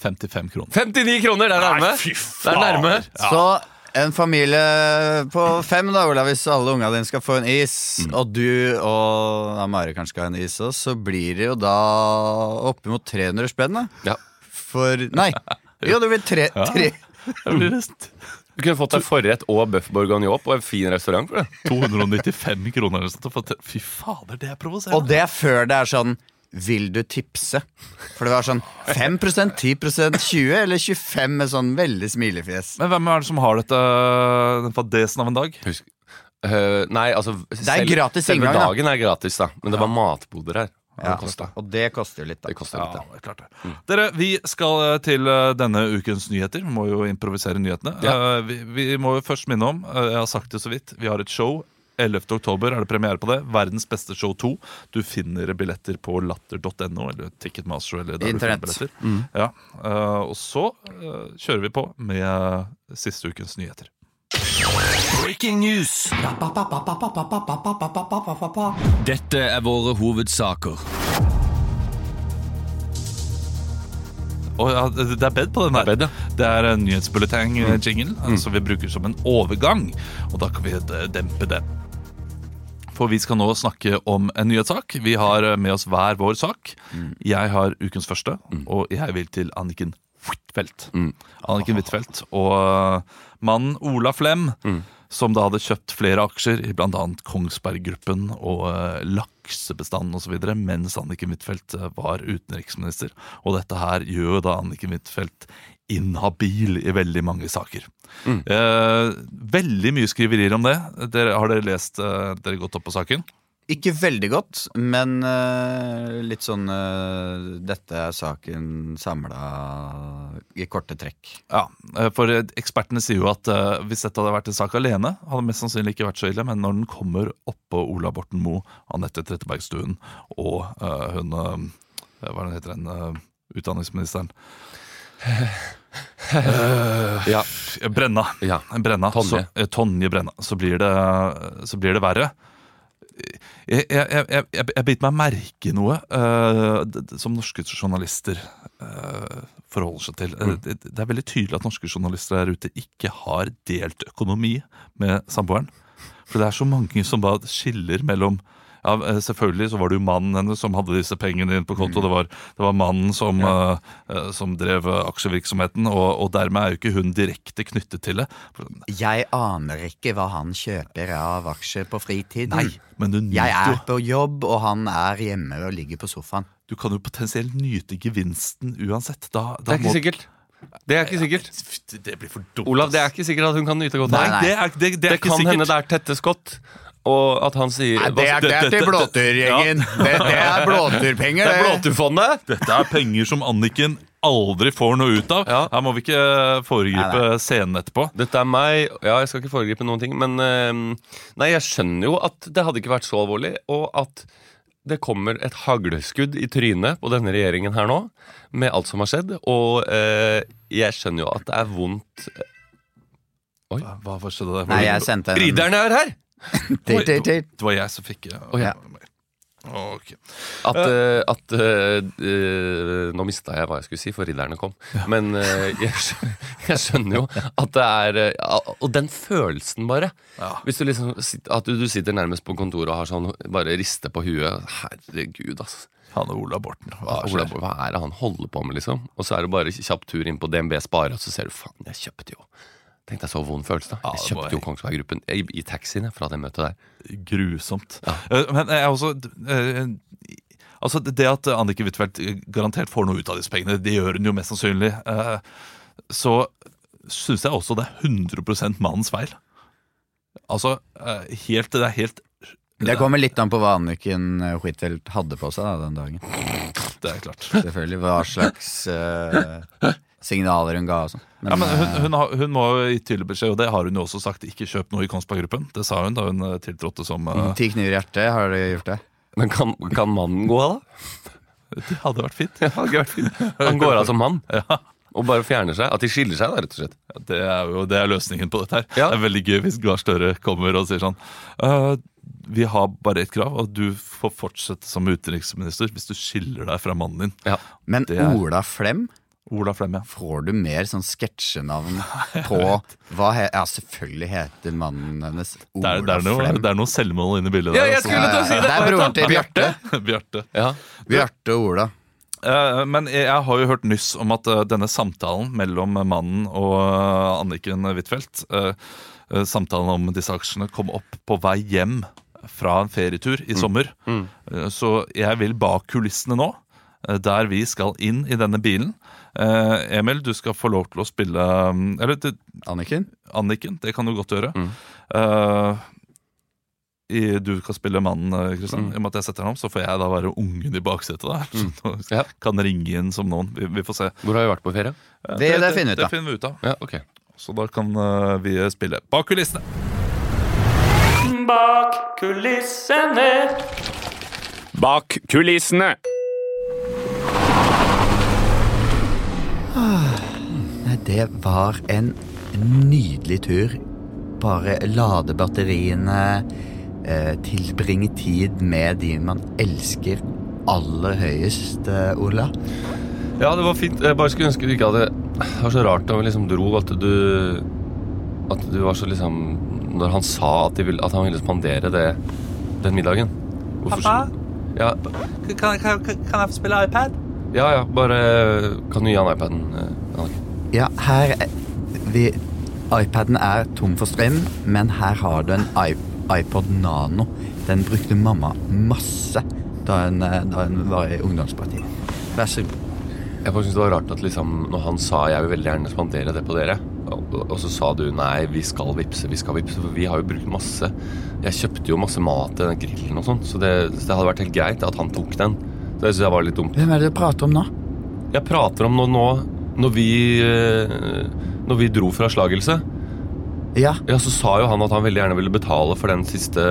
S1: 55 kroner.
S3: 59 kroner! Det er nærme! det er nærme.
S2: Så en familie på fem, da, Olav, hvis alle ungene dine skal få en is, og du og Amare kanskje skal ha en is også, så blir det jo da oppimot 300 spenn, da.
S3: Ja.
S2: For Nei! Jo, det blir tre, tre.
S1: Det blir rest.
S3: Du kunne fått deg forrett og bøff bourguignon på en fin restaurant. for det
S1: 295 kroner eller noe sånt. å få til- Fy fader, det er provoserende.
S2: Og det er før det er sånn vil du tipse? For det var sånn 5 10 20 eller 25 med sånn veldig smilefjes.
S1: Men hvem er det som har dette den fadesen av en dag?
S3: Husk. Eh, nei, altså Det
S2: er gratis
S3: Selve
S2: inngang, da.
S3: dagen er gratis, da. Men det var matboder her. og
S2: Ja,
S3: Det kosta
S2: og det koster jo litt, da.
S3: det kosta litt.
S1: Ja, det er klart det. Dere, vi skal eh, til eh, denne ukens nyheter. Vi må jo improvisere nyhetene.
S3: Ja.
S1: Eh, Vi, vi må jo først minne om, eh, jeg har sagt det så vidt, vi har et show. 11. oktober er det premiere på det. Verdens beste show 2. Du finner billetter på latter.no eller Ticketmaster. eller der du finner
S2: Internett.
S1: billetter.
S3: Mm.
S1: Ja. eh, Og så eh, kjører vi på med eh, siste ukens nyheter.
S4: Breaking news. Dette er våre hovedsaker.
S1: Å, ja, det det er bed på den der.
S3: Det er Mm. bed,
S1: Det er en nyhetsbulleteng-jingle eh, som vi bruker som en overgang. Og da kan vi eh, dempe det. For vi skal nå snakke om en nyhetssak. Vi har eh, med oss hver vår sak. Jeg har ukens første, og jeg vil til Anniken Huitfeldt.
S3: Mm.
S1: Anniken Huitfeldt og eh, mannen Ola Flem, som da hadde kjøpt flere aksjer i bl.a. Kongsberg Gruppen og eh, laksebestanden osv. mens Anniken Huitfeldt eh, var utenriksminister. Og dette her gjør jo da Anniken Huitfeldt inhabil i veldig mange saker. Eh, veldig mye skriverier om det. Dere, har dere lest eh, Dere gått opp på saken?
S2: Ikke veldig godt, men eh, litt sånn eh, Dette er saken samla i korte trekk.
S1: Ja, eh, for eh, ekspertene sier jo at eh, hvis dette hadde vært en sak alene, hadde det mest sannsynlig ikke vært så ille, men når den kommer oppå Ola Borten Moe, Anette Trettebergstuen og eh, hun eh, Hva er det hun heter den eh, utdanningsministeren?
S3: Ja.
S1: Eh, Brenna.
S3: ja.
S1: Brenna,
S3: Tonje.
S1: Så, eh, Tonje Brenna. Så blir det, så blir det verre. Jeg, jeg, jeg, jeg, jeg, jeg biter meg merke i noe eh, d- d- som norske journalister eh, forholder seg til. Eh, Det, det er veldig tydelig at norske journalister der ute ikke har delt økonomi med samboeren. For det er så mange som da skiller mellom ja, eh, Selvfølgelig så var det jo mannen hennes som hadde disse pengene inn på konto. Det, var, det var mannen som, eh, eh, som drev eh, aksjevirksomheten, og, og dermed er jo ikke hun direkte knyttet til det.
S2: Jeg aner ikke hva han kjøper av aksjer på fritiden.
S1: Nei,
S3: Mm.
S1: men du
S2: Jeg
S1: nyter
S2: er
S1: jo
S2: på jobb, og han er hjemme og ligger på sofaen.
S1: Du kan jo potensielt nyte gevinsten uansett. Da,
S3: Det
S1: da
S3: er ikke sikkert. Det er ikke sikkert.
S1: Det blir for dumt.
S3: Olav, det er ikke sikkert at hun kan nyte godt
S1: Nei,
S3: av
S1: det er, det, det er
S3: Det
S1: ikke
S3: kan
S1: sikkert.
S3: hende det er Tette Scott, og at han sier Hva-
S1: til blåturgjengen.
S2: Det, er blåturpenger,
S3: Det er Blåturfondet!
S1: Dette er penger som Anniken aldri får noe ut av.
S3: Ja.
S1: Her må vi ikke eh, foregripe
S2: Nei,
S1: scenen etterpå.
S3: Dette er meg. Ja, jeg skal ikke foregripe noen ting, men eh, Nei, jeg skjønner jo at det hadde ikke vært så alvorlig, og at det kommer et hagleskudd i trynet på denne regjeringen her nå, med alt som har skjedd, og eh, jeg skjønner jo at det er vondt ehm,
S1: Hva, hva skjedde der?
S2: Nei, jeg sendte en
S3: Ridderne er her!
S2: Titt, titt, titt.
S1: Det var jeg som fikk eh,
S3: Å, ja.
S1: Ok.
S3: At, eh, at eh, eh, Nå mista jeg hva jeg skulle si, for ridderne kom. Men eh, jeg, skjønner, jeg skjønner jo at det er eh, ja, Og den følelsen, bare.
S1: Ja.
S3: Hvis du liksom, sit- at du, du sitter nærmest på kontoret og har sånn, bare rister på huet. Herregud, ass.
S1: Han og Ola Borten. Hva
S3: Hva,
S1: skjer?
S3: hva er det han holder på med, liksom? Og så er det bare kjapp tur inn på DNB Spare, og så ser du faen, jeg kjøpte jo. Tenk deg så vond følelse, da.
S1: Ja,
S3: jeg
S1: det må
S3: kjøpte jo
S1: jeg-
S3: Kongsberg Gruppen i, i taxien jeg, fra det møtet der.
S1: grusomt.
S3: Ja.
S1: Eh, Men jeg er også eh, Altså det at Annike Huitfeldt eh, garantert får noe ut av disse pengene, det gjør hun jo mest sannsynlig, eh, så syns jeg også det er 100 mannens feil. Altså, eh, helt, det er helt
S2: Det kommer litt an på hva Anniken eh, Huitfeldt hadde på seg da, den dagen.
S1: Det er klart.
S2: Selvfølgelig hva slags eh, signaler hun ga og sånn. Men,
S1: Ja, men hun,
S2: eh,
S1: hun, har- hun må jo gi tydelig beskjed, og det har hun jo også sagt. Ikke kjøp noe i Kongsberg Gruppen. Det sa hun da hun eh, tiltrådte som eh,
S2: Ti kniver i hjertet, har du gjort det?
S3: Men kan, kan mannen gå av, da?
S1: Det hadde vært fint.
S3: Ja, det hadde vært fint. Han går av som mann.
S1: Ja.
S3: Og bare fjerner seg. At de skiller seg, da, rett og slett.
S1: Det er jo det er løsningen på dette her.
S3: Ja.
S1: Det er veldig gøy hvis Gahr Støre kommer og sier sånn «Øh, Vi har bare ett krav, og du får fortsette som utenriksminister hvis du skiller deg fra mannen din.
S3: Ja.
S2: Men
S1: Det er-
S2: Ola Flem,
S1: Ola Flemme.
S2: får du mer sånn sketsjenavn på hva he Ja, selvfølgelig heter mannen hennes
S1: Det
S2: Ola
S1: er, det, er noe,
S2: Flem.
S1: det er noe selvmål inni bildet
S3: Ja,
S1: der.
S3: jeg
S1: altså.
S3: skulle til å si det!
S2: Det er broren til Bjarte.
S1: Bjarte.
S3: Ja.
S2: Bjarte og Ola.
S1: Eh, Men jeg jeg har jo hørt nyss om at eh, denne samtalen mellom mannen og eh, Anniken Huitfeldt eh, eh, Samtalen om disse aksjene kom opp på vei hjem fra en ferietur i sommer. Eh, Så jeg vil bak kulissene nå, eh, der vi skal inn i denne bilen. Eh, Emil, du skal få lov til å spille mm, Eller du,
S2: Anniken?
S1: Anniken, det kan du godt gjøre. Eh, i, du kan spille mannen, eh, Kristian. I og med at jeg setter den om, så får jeg da være ungen i baksetet. der Så
S3: Ja.
S1: Kan ringe inn som noen. Vi, vi får se.
S3: Hvor har vi vært på ferie?
S1: Eh,
S2: Det- det finner vi ut av.
S1: det finner vi ut av.
S3: Ja, ok
S1: Så da kan eh, vi spille bak kulissene.
S5: Bak kulissene.
S6: Bak kulissene.
S2: Nei, det var en nydelig tur. Bare lade batteriene, eh, tilbringe tid med de man elsker aller høyest, eh, Ola.
S3: Ja, det var fint. Jeg bare skulle ønske du ikke hadde Det var så rart da vi liksom dro at du At du var så liksom Når han sa at, de ville, at han ville spandere det den middagen Hvorfor
S5: Pappa?
S3: Ja,
S5: Kan, kan, kan jeg få spille iPad?
S3: ja, ja bare Kan du gi han iPaden? eh,
S2: Ja, her er- vi, iPaden er tom for strøm, men her har du en iP- iPod Nano. Den brukte mamma masse da hun, eh, da hun var i ungdomspartiet. Vær så god.
S3: Jeg bare synes det var rart at liksom, når han sa jeg vil veldig gjerne spandere det på dere, og, og så sa du nei, vi skal vipse, vi skal vipse, for vi har jo brukt masse Jeg kjøpte jo masse mat til den grillen og sånn, så, det- så det hadde vært helt greit at han tok den. Så det synes jeg var litt dumt.
S2: Hvem er det du prater om nå?
S3: Jeg prater om noe nå når vi, eh, når vi dro fra slagelse.
S2: Ja,
S3: Ja, så sa jo han at han veldig gjerne ville betale for den siste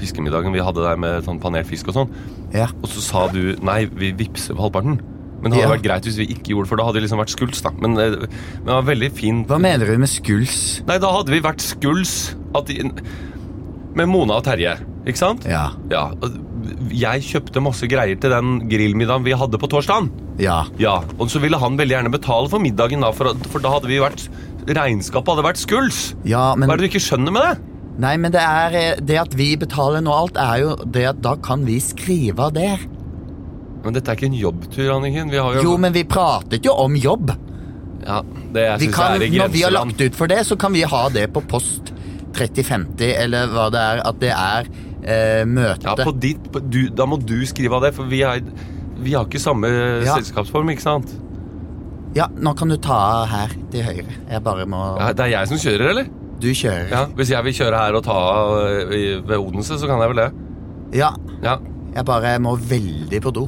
S3: fiskemiddagen vi hadde der med sånn panert fisk og sånn.
S2: ja.
S3: Og så sa du nei, vi vippser på halvparten. Men det hadde
S2: Ja.
S3: vært greit hvis vi ikke gjorde det, for da hadde det liksom vært skuls. da. Men, eh, men det var veldig fint.
S2: Hva mener du med skuls?
S3: Nei, da hadde vi vært skuls at de, med Mona og Terje, ikke sant?
S2: Ja,
S3: Ja, og Jeg kjøpte masse greier til den grillmiddagen vi hadde på torsdagen.
S2: ja.
S3: Ja, Og så ville han veldig gjerne betale for middagen, da, for, for da hadde vi vært Regnskapet hadde vært skuls!
S2: Ja, men,
S3: Hva er det du ikke skjønner med det?
S2: nei, men det, er, eh, det at vi betaler nå alt, er jo det at da kan vi skrive av det.
S3: Men dette er ikke en jobbtur, Anniken. Vi har jo,
S2: Jo, men vi pratet jo om jobb.
S3: ja, Det jeg
S2: Vi
S3: synes
S2: kan,
S3: er i
S2: når vi har
S3: grenseland.
S2: lagt ut for det, så kan vi ha det på post 3050, eller hva det er, at det er eh, møte.
S3: Ja, på ditt, på, du, da må du skrive av det, for vi, er, vi har ikke samme eh,
S2: Ja.
S3: selskapsform, ikke sant?
S2: Ja, nå kan du ta av her til høyre. Jeg bare må
S3: Ja, det er jeg som kjører, eller?
S2: Du kjører.
S3: Ja, Hvis jeg vil kjøre her og ta av eh, i- ved Odense, så kan jeg vel det?
S2: Ja,
S3: Ja.
S2: jeg bare må veldig på do.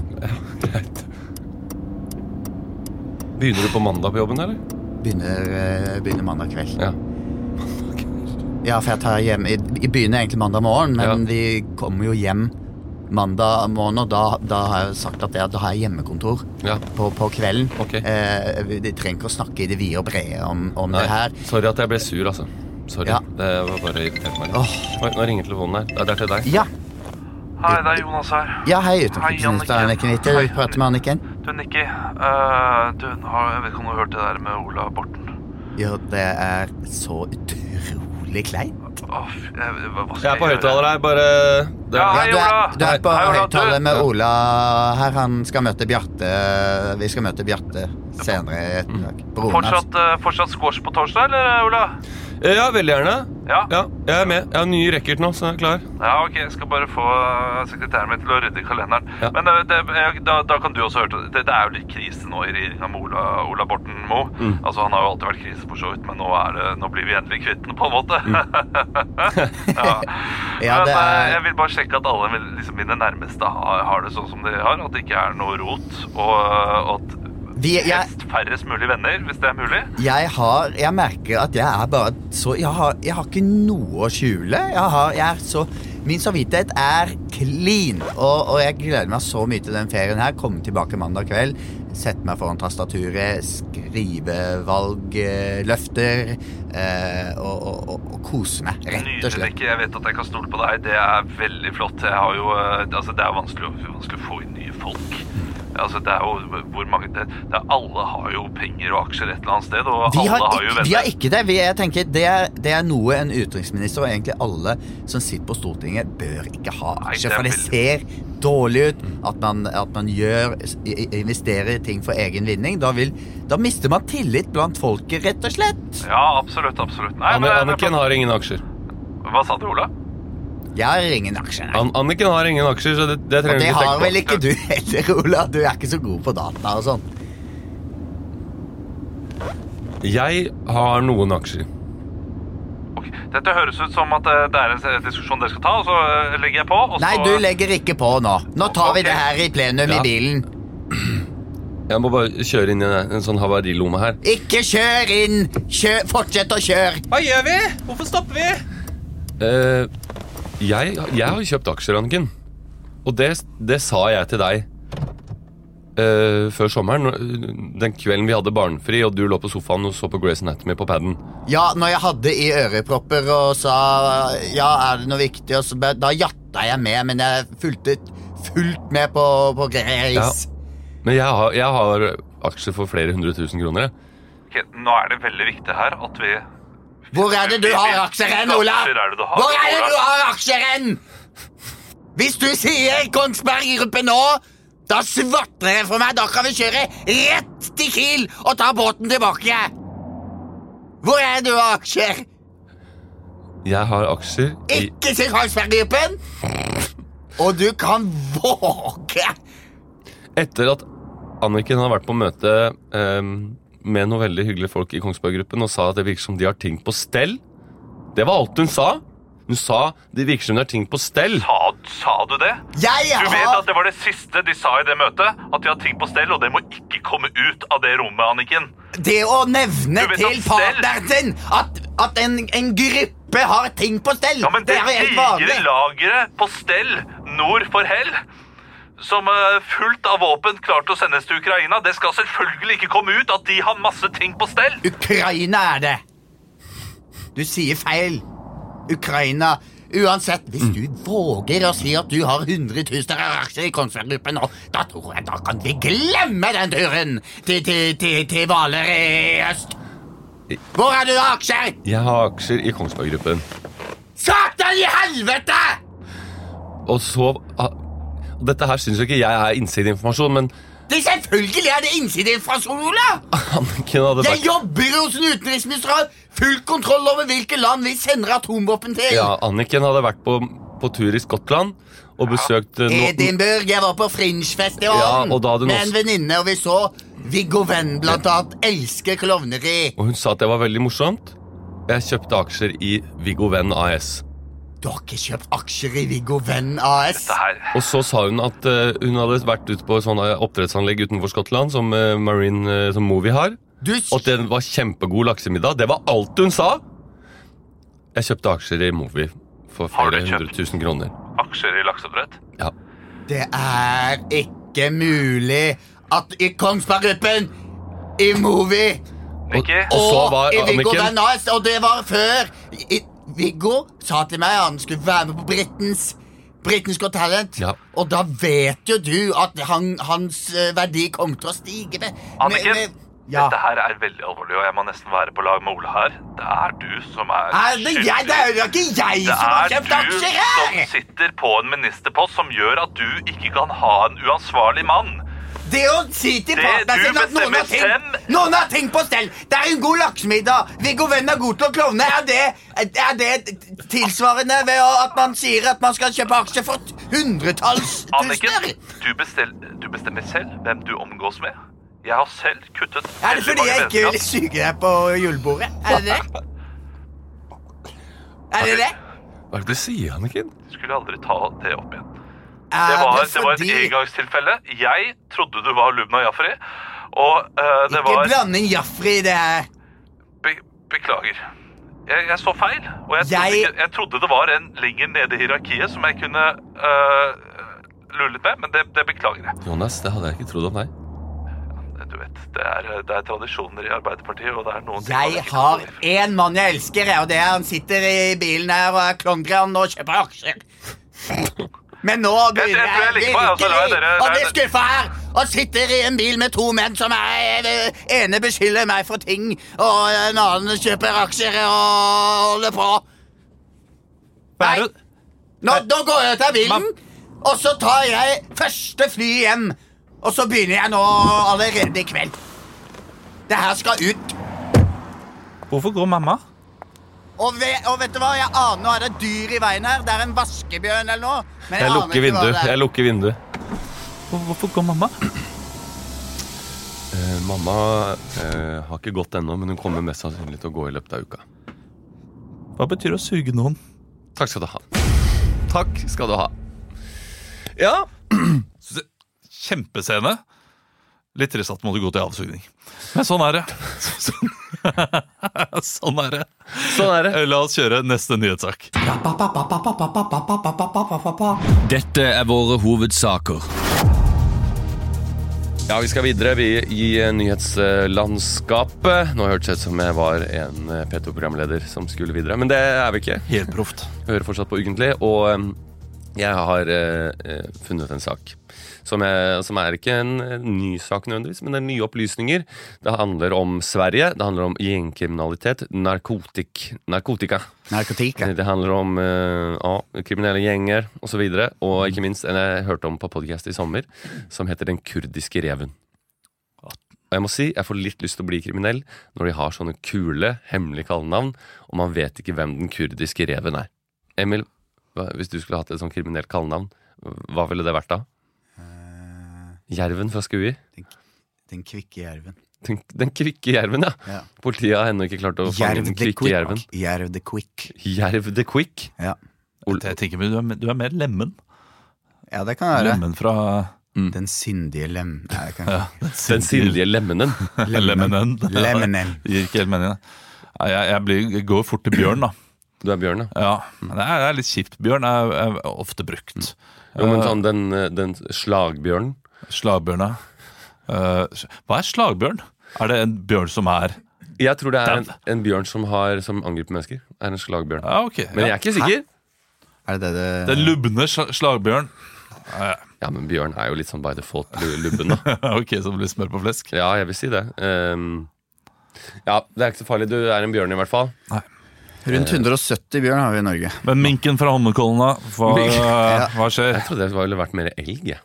S3: Begynner du på mandag på jobben, eller?
S2: Begynner, eh, begynner mandag kveld.
S3: Ja.
S2: Ja, for jeg tar hjem i, i begynner egentlig mandag morgen, men
S3: Ja.
S2: vi kommer jo hjem mandag morgen, og da, da har jeg sagt at jeg, da har jeg hjemmekontor.
S3: ja.
S2: På, på kvelden.
S3: Ok.
S2: Eh, vi vi trenger ikke å snakke i det vide og brede om, om
S3: Nei,
S2: det her.
S3: sorry at jeg ble sur, altså. Sorry.
S2: Ja.
S3: Det var bare irritert meg litt.
S2: Åh.
S3: Oi, nå ringer telefonen her. Ja, Det er til deg.
S2: Ja,
S1: Hei, det er Jonas her.
S2: Ja, hei,
S1: Hei,
S2: utenriksminister
S1: Anniken.
S2: Anniken Huitfeldt. Jeg
S1: Hei.
S2: prater med Anniken.
S1: Du, Nikki. eh, du, har, jeg vet ikke om du har hørt det der med Ola Borten?
S2: Jo, det er så utrolig kleint.
S1: Åh, fy- jeg- hva skal
S3: Jeg er på
S1: gjøre?
S3: høyttaler her, bare det
S1: Ja,
S3: er,
S1: hei,
S2: du, er,
S1: Ola.
S2: du er på
S1: Hei, Ola, du-
S2: høyttaler med Ola her. Han skal møte Bjarte. Vi skal møte Bjarte senere i ettermiddag. Broren hans.
S1: Fortsatt, eh, fortsatt squash på torsdag, eller, Ola?
S3: Ja, veldig gjerne.
S1: Ja.
S3: Ja, jeg er med. Jeg har ny racket nå, så jeg er klar.
S1: Ja, ok, jeg skal bare få eh, sekretæren min til å rydde i kalenderen.
S3: Ja.
S1: Men eh, det, jeg, da, da kan du også høre det. Det, det er jo litt krise nå i regjeringa med Ola, Ola Borten Moe.
S2: Mm.
S1: Altså, han har jo alltid vært krise for så vidt, men nå, er det, nå blir vi endelig kvitt den, på en måte. ja.
S2: Mm. Ja,
S1: men
S2: det
S1: eh,
S2: er-
S1: jeg vil bare sjekke at alle vil- liksom, mine nærmeste har, har det sånn som de har, at det ikke er noe rot, og, og at
S2: Vi, jeg,
S1: helst færrest mulig venner, hvis det er mulig.
S2: jeg har Jeg merker at jeg er bare så Jeg har, jeg har ikke noe å skjule. Jeg har, jeg er så, min samvittighet er clean, og, og jeg gleder meg så mye til den ferien her. Komme tilbake mandag kveld, sette meg foran tastaturet, skrive valgløfter eh, og, og, og, og kose meg, rett og
S1: Nydelig,
S2: slett.
S1: Bekke. Jeg vet at jeg kan stole på deg. Det er veldig flott. Jeg har jo, eh, altså, det er vanskelig, å- vanskelig å få inn nye folk. Altså, det er jo hvor mange det, det er, Alle har jo penger og aksjer et eller annet sted, og
S2: Vi
S1: alle
S2: har,
S1: har, jo
S2: ikke,
S1: venner.
S2: vi har ikke det. Vi, jeg tenker, det, er, det er noe en utenriksminister og egentlig alle som sitter på Stortinget, bør ikke ha
S1: Nei, det
S2: aksjer.
S1: er Mm.
S2: For det ser dårlig ut at man, at man gjør, i- i- investerer i ting for egen vinning. Da, vil, da mister man tillit blant folket, rett og slett.
S1: Ja, absolutt. absolutt. Nei,
S3: Anne-
S1: men-
S3: Anniken har ingen aksjer.
S1: Hva sa du, Ola?
S2: Jeg har ingen aksjer. nei.
S3: An Anniken har ingen aksjer, så det, det
S2: Og
S3: trenger du
S2: det
S3: ikke
S2: har
S3: tenke
S2: vel
S3: på.
S2: ikke du heller, Ola. Du er ikke så god på data og sånn.
S3: Jeg har noen aksjer.
S1: Ok, Dette høres ut som at eh, det er en eh, diskusjon dere skal ta, og så eh, legger jeg på. Og så,
S2: Nei, du legger ikke på nå. Nå tar vi
S1: Ok.
S2: det her i plenum
S3: Ja.
S2: i bilen.
S3: Jeg må bare kjøre inn i en, en sånn havarilomme her.
S2: Ikke kjør inn! Kjør, fortsett å kjøre!
S3: Hva gjør vi? Hvorfor stopper vi? Eh, jeg, jeg har kjøpt aksjer, Anniken. Og det, det sa jeg til deg eh, før sommeren. når- Den kvelden vi hadde barnefri, og du lå på sofaen og så på Grace Anatomy på paden.
S2: Ja, når jeg hadde i ørepropper og sa Ja, er det noe viktig? Og så, bare- da jatta jeg med, men jeg fulgte fullt med på, på Grace.
S3: Men jeg har, jeg har aksjer for flere hundre tusen kroner. jeg.
S1: Ok, nå er det veldig viktig her at vi
S2: Hvor er det du har aksjer hen, Ola?
S1: Hvor er det du har,
S2: Hvor er det du
S1: Ola?
S2: har aksjer hen? Hvis du sier Kongsberg Gruppe nå, da svartner det for meg. Da kan vi kjøre rett til Kiel og ta båten tilbake. Hvor er du har aksjer?
S3: Jeg har aksjer i
S2: Ikke til Kongsberggruppen! Og du kan våge!
S3: Etter at Anniken har vært på møte ehm, med noen veldig hyggelige folk i Kongsberg-gruppen og sa at det virker som de har ting på stell. Det var alt hun sa. Hun sa det virker som de har ting på stell.
S1: Sa, sa du det?
S2: Jeg
S1: Du vet
S2: har
S1: at det var det siste de sa i det møtet? At de har ting på stell, og det må ikke komme ut av det rommet, Anniken.
S2: det å nevne
S1: Du vet
S2: til
S1: at stell-
S2: partneren sin at, at en, en gruppe har ting på stell.
S1: Ja, men det
S2: det er jo helt
S1: digre
S2: vanlig.
S1: lageret på stell nord for hell, som eh, fullt av våpen klarte å sendes til Ukraina, det skal selvfølgelig ikke komme ut at de har masse ting på stell.
S2: Ukraina er det. Du sier feil. Ukraina. Uansett, hvis du våger å si at du har 100 000 av aksjer i Kongsberggruppen nå, da tror jeg da kan vi glemme den turen til, til, til, til Hvaler i øst. Hvor er du av aksjer?
S3: Jeg har aksjer i Kongsberg-gruppen.
S2: Satan i helvete!
S3: Og så ah, Dette her syns jo ikke jeg er innsideinformasjon, men
S2: Det selvfølgelig er det innsideinformasjon, Ola!
S3: Anniken hadde
S2: Jeg
S3: vært
S2: jobber hos en utenriksminister og har full kontroll over hvilke land vi sender atomvåpen til.
S3: ja, Anniken hadde vært på, på tur i Skottland og besøkt eh, no-
S2: Edinburgh, jeg var på Fringe-festivalen
S3: Ja, og da hadde hun
S2: med en
S3: også-
S2: venninne, og vi så Viggo Venn blant annet elsker klovneri.
S3: Og hun sa at det var veldig morsomt. Jeg kjøpte aksjer i Viggo Venn AS.
S2: Du har ikke kjøpt aksjer i Viggo Venn AS?
S1: Det her
S3: Og så sa hun at eh, hun hadde vært ute på et sånt eh, oppdrettsanlegg utenfor Skottland, som eh, Marine eh, som Movie har,
S2: Du,
S3: og at det var kjempegod laksemiddag. Det var alt hun sa! Jeg kjøpte aksjer i Movie for
S1: Har du
S3: flere hundre
S1: kjøpt?
S3: tusen kroner.
S1: aksjer i lakseoppdrett.
S3: Ja.
S2: det er ikke mulig at i Kongsberg-gruppen, i Movi
S1: Nikki,
S3: Og så
S2: og
S3: var
S2: i Viggo
S3: Anniken-
S2: Venn AS, og det var før i, Viggo sa til meg han skulle være med på Brittens Britain's Got Talent.
S3: Ja.
S2: Og da vet jo du at han, hans eh, verdi kommer til å stige med, med,
S1: Anniken,
S2: med ja.
S1: dette her er veldig alvorlig, og jeg må nesten være på lag med Ole her. Det er du som er
S2: Er det, jeg, det er jo ikke jeg
S1: Det
S2: som har
S1: er
S2: kjøpt
S1: du
S2: aksjer
S1: som
S2: her!
S1: sitter på en ministerpost som gjør at du ikke kan ha en uansvarlig mann.
S2: Det å si til
S1: Det
S2: partneren
S1: du
S2: sin at noen har, ting,
S1: bestemmer selv.
S2: noen har ting på stell Det er en god laksemiddag. Viggo Venn er god til å klovne. Er det, er det tilsvarende ved å- at man sier at man skal kjøpe aksjer for hundretalls tusener?
S1: Anniken, du, bestel, du bestemmer selv hvem du omgås med. Jeg har selv kuttet
S2: Er det
S1: veldig
S2: fordi
S1: mange
S2: jeg ikke
S1: vennskap.
S2: vil suge deg på julebordet? Er det det? Er det det?
S3: Hva er det du sier, Anniken?
S1: Skulle aldri ta det opp igjen.
S2: Er
S1: Det var, det var et
S2: fordi
S1: engangstilfelle. Jeg trodde du var Lubna Jafri, og eh, det
S2: Ikke
S1: var
S2: blande inn Jafri i det her.
S1: Be beklager. Jeg, jeg så feil, og jeg trodde,
S2: Jeg-
S1: Ikke, jeg trodde det var en lenger nede i hierarkiet som jeg kunne eh, lure litt med, men det, det beklager jeg.
S3: Jonas, det hadde jeg ikke trodd om deg.
S1: Du vet, det er, det er tradisjoner i Arbeiderpartiet, og det er noen ting man
S2: Jeg
S1: ikke
S2: har
S1: tåler.
S2: én mann jeg elsker, jeg, og det er han sitter i bilen her og er klongran og kjøper aksjer. Men nå
S1: Jeg- jeg
S2: begynner
S1: tror jeg
S2: jeg
S1: liker meg, altså, la
S2: virkelig
S1: dere-
S2: å
S1: la
S2: bli
S1: dere-
S2: skuffa her! Og sitter i en bil med to menn som er eh, det ene beskylder meg for ting, og en annen kjøper aksjer og holder på. Nei,
S3: er det-
S2: nå, nå går jeg ut av bilen, og så tar jeg første fly hjem. Og så begynner jeg nå allerede i kveld. Det her skal ut.
S7: Hvorfor går mamma?
S2: Og, ve og vet du hva, jeg aner nå er det dyr i veien her. Det er en vaskebjørn eller noe. Men
S3: Jeg
S2: aner
S3: lukker
S2: ikke hva
S3: vinduet.
S2: det er.
S3: Jeg lukker vinduet.
S7: Hvorfor går mamma?
S3: Eh, mamma eh, har ikke gått ennå, men hun kommer mest sannsynlig til å gå i løpet av uka.
S7: Hva betyr å suge noen?
S3: Takk skal du ha. Takk skal du ha. Ja,
S7: Kjempescene. Litt trist at må du gå til avsugning. Men sånn er det. Sånn, sånn er det.
S3: sånn er det.
S7: La oss kjøre neste nyhetssak.
S8: Dette er våre hovedsaker.
S3: Ja, Vi skal videre vi i eh, nyhetslandskapet. Nå hørtes det ut som jeg var en eh, P2-programleder som skulle videre, men det er vi ikke.
S7: Helt proft.
S3: Vi hører fortsatt på Ukentlig, og em, jeg har eh, eh, funnet en sak. Som er, som er ikke en eh, ny sak nødvendigvis, men det er nye opplysninger. Det handler om Sverige, det handler om gjengkriminalitet, narkotik, narkotika.
S9: Narkotika.
S3: Det handler om eh, ja, kriminelle gjenger osv. Og, så videre, og
S2: Mm.
S3: ikke minst en jeg hørte om på podcast i sommer, som heter Den kurdiske reven. Og jeg må si, jeg får litt lyst til å bli kriminell når de har sånne kule, hemmelige kallenavn, og man vet ikke hvem den kurdiske reven er. Emil, hva, hvis du skulle hatt et sånt kriminelt kallenavn, hva ville det vært da?
S2: Eh.
S3: Jerven fra Skui?
S2: Den kvikke jerven.
S3: Den, den kvikke jerven, ja.
S2: Ja.
S3: Politiet har ennå ikke klart å fange
S2: Jerv
S3: den
S2: the
S3: kvikke jerven.
S2: quick. Jerv the quick.
S3: Jerv the Quick?
S2: Ja.
S3: Ol-
S1: Jeg tenker, men du er, du er mer lemmen.
S2: ja, det kan være.
S1: Lemmen fra
S3: Mm.
S2: Den sindige lem... Nei, det kan ikke
S3: Den sindige lemmenen.
S1: Lemmenen.
S2: Lemnen.
S1: Gir ikke helt mening, det. Nei, Jeg, jeg, blir, jeg går fort til bjørn, da.
S3: Du er bjørn, ja.
S1: Ja, men det er, det er litt kjipt. Bjørn er, er ofte brukt.
S3: Jo, men sånn den, den slagbjørnen
S1: Slagbjørn, ja. Eh, hva er slagbjørn? Er det en bjørn som er
S3: Jeg tror det er en,
S1: Dau.
S3: en bjørn som, har, som angriper mennesker. Er en slagbjørn.
S1: Ja, ok.
S3: Men jeg
S1: ja.
S3: er ikke sikker.
S2: Er det det det
S1: Den lubne sla- slagbjørn.
S3: Ja, men bjørn er jo litt sånn by default lu- lubben, da.
S1: ok, som blir smør på flesk.
S3: Ja, jeg vil si det. Ehm, ja, det er ikke så farlig. Du er en bjørn, i hvert fall.
S2: Rundt 170 bjørn har vi i Norge.
S1: Men minken fra Holmenkollen, da? Hva, eh,
S2: Ja.
S1: hva skjer?
S3: Jeg trodde det ville vært mer elg. jeg.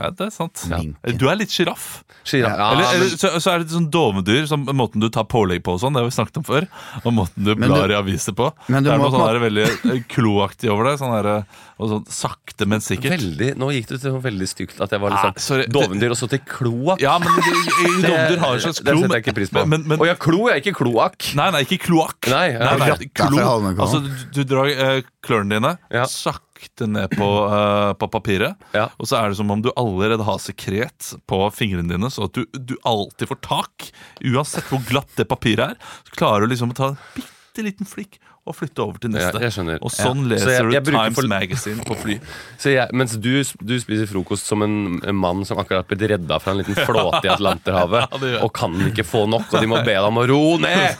S1: Ja, det er sant.
S2: Minken.
S1: Du er litt sjiraff.
S3: Giraffe. Ja,
S1: Eller, eller
S3: men,
S1: så, så er det sånn dovendyr, som måten du tar pålegg på og sånn, det har vi snakket om før. Og måten du
S2: Men
S1: blar i
S2: du-
S1: aviser på.
S2: men du
S1: det er
S2: må
S1: noe
S2: på-
S1: sånn der veldig eh, kloaktig over det. Sånn der, eh, og sånn sakte, men sikkert.
S3: veldig, nå gikk det til noe veldig stygt at jeg var litt
S1: Ah,
S3: sånn
S1: sorry.
S3: dovendyr og så til kloakk.
S1: Ja, men de- de- de- dovendyr har en slags
S3: det
S1: klo.
S3: setter jeg ikke pris på.
S1: Men, men,
S3: Å ja, klo, jeg er ikke kloakk.
S1: Nei, nei, ikke kloakk.
S3: Nei, ja.
S2: Rotta fra Holmenkollen.
S1: Altså, du, du drar eh, klørne dine
S3: Ja.
S1: sakte ned på, eh, på papiret,
S3: Ja.
S1: og så er det som om du allerede har sekret på fingrene dine, så at du, du alltid får tak. Uansett hvor glatt det papiret er, så klarer du liksom å ta en bitte liten flikk og flytte over til
S3: Ja,
S1: neste.
S3: jeg skjønner.
S1: og sånn
S3: Ja. Så
S1: leser
S3: jeg- jeg
S1: du
S3: bruker
S1: Times
S3: for-
S1: Magazine på fly.
S3: Så jeg, mens du, du spiser frokost som en, en mann som akkurat har blitt redda fra en liten flåte i Atlanterhavet,
S1: Ja, det gjør jeg.
S3: og kan ikke få nok, og de må be deg om å ro ned!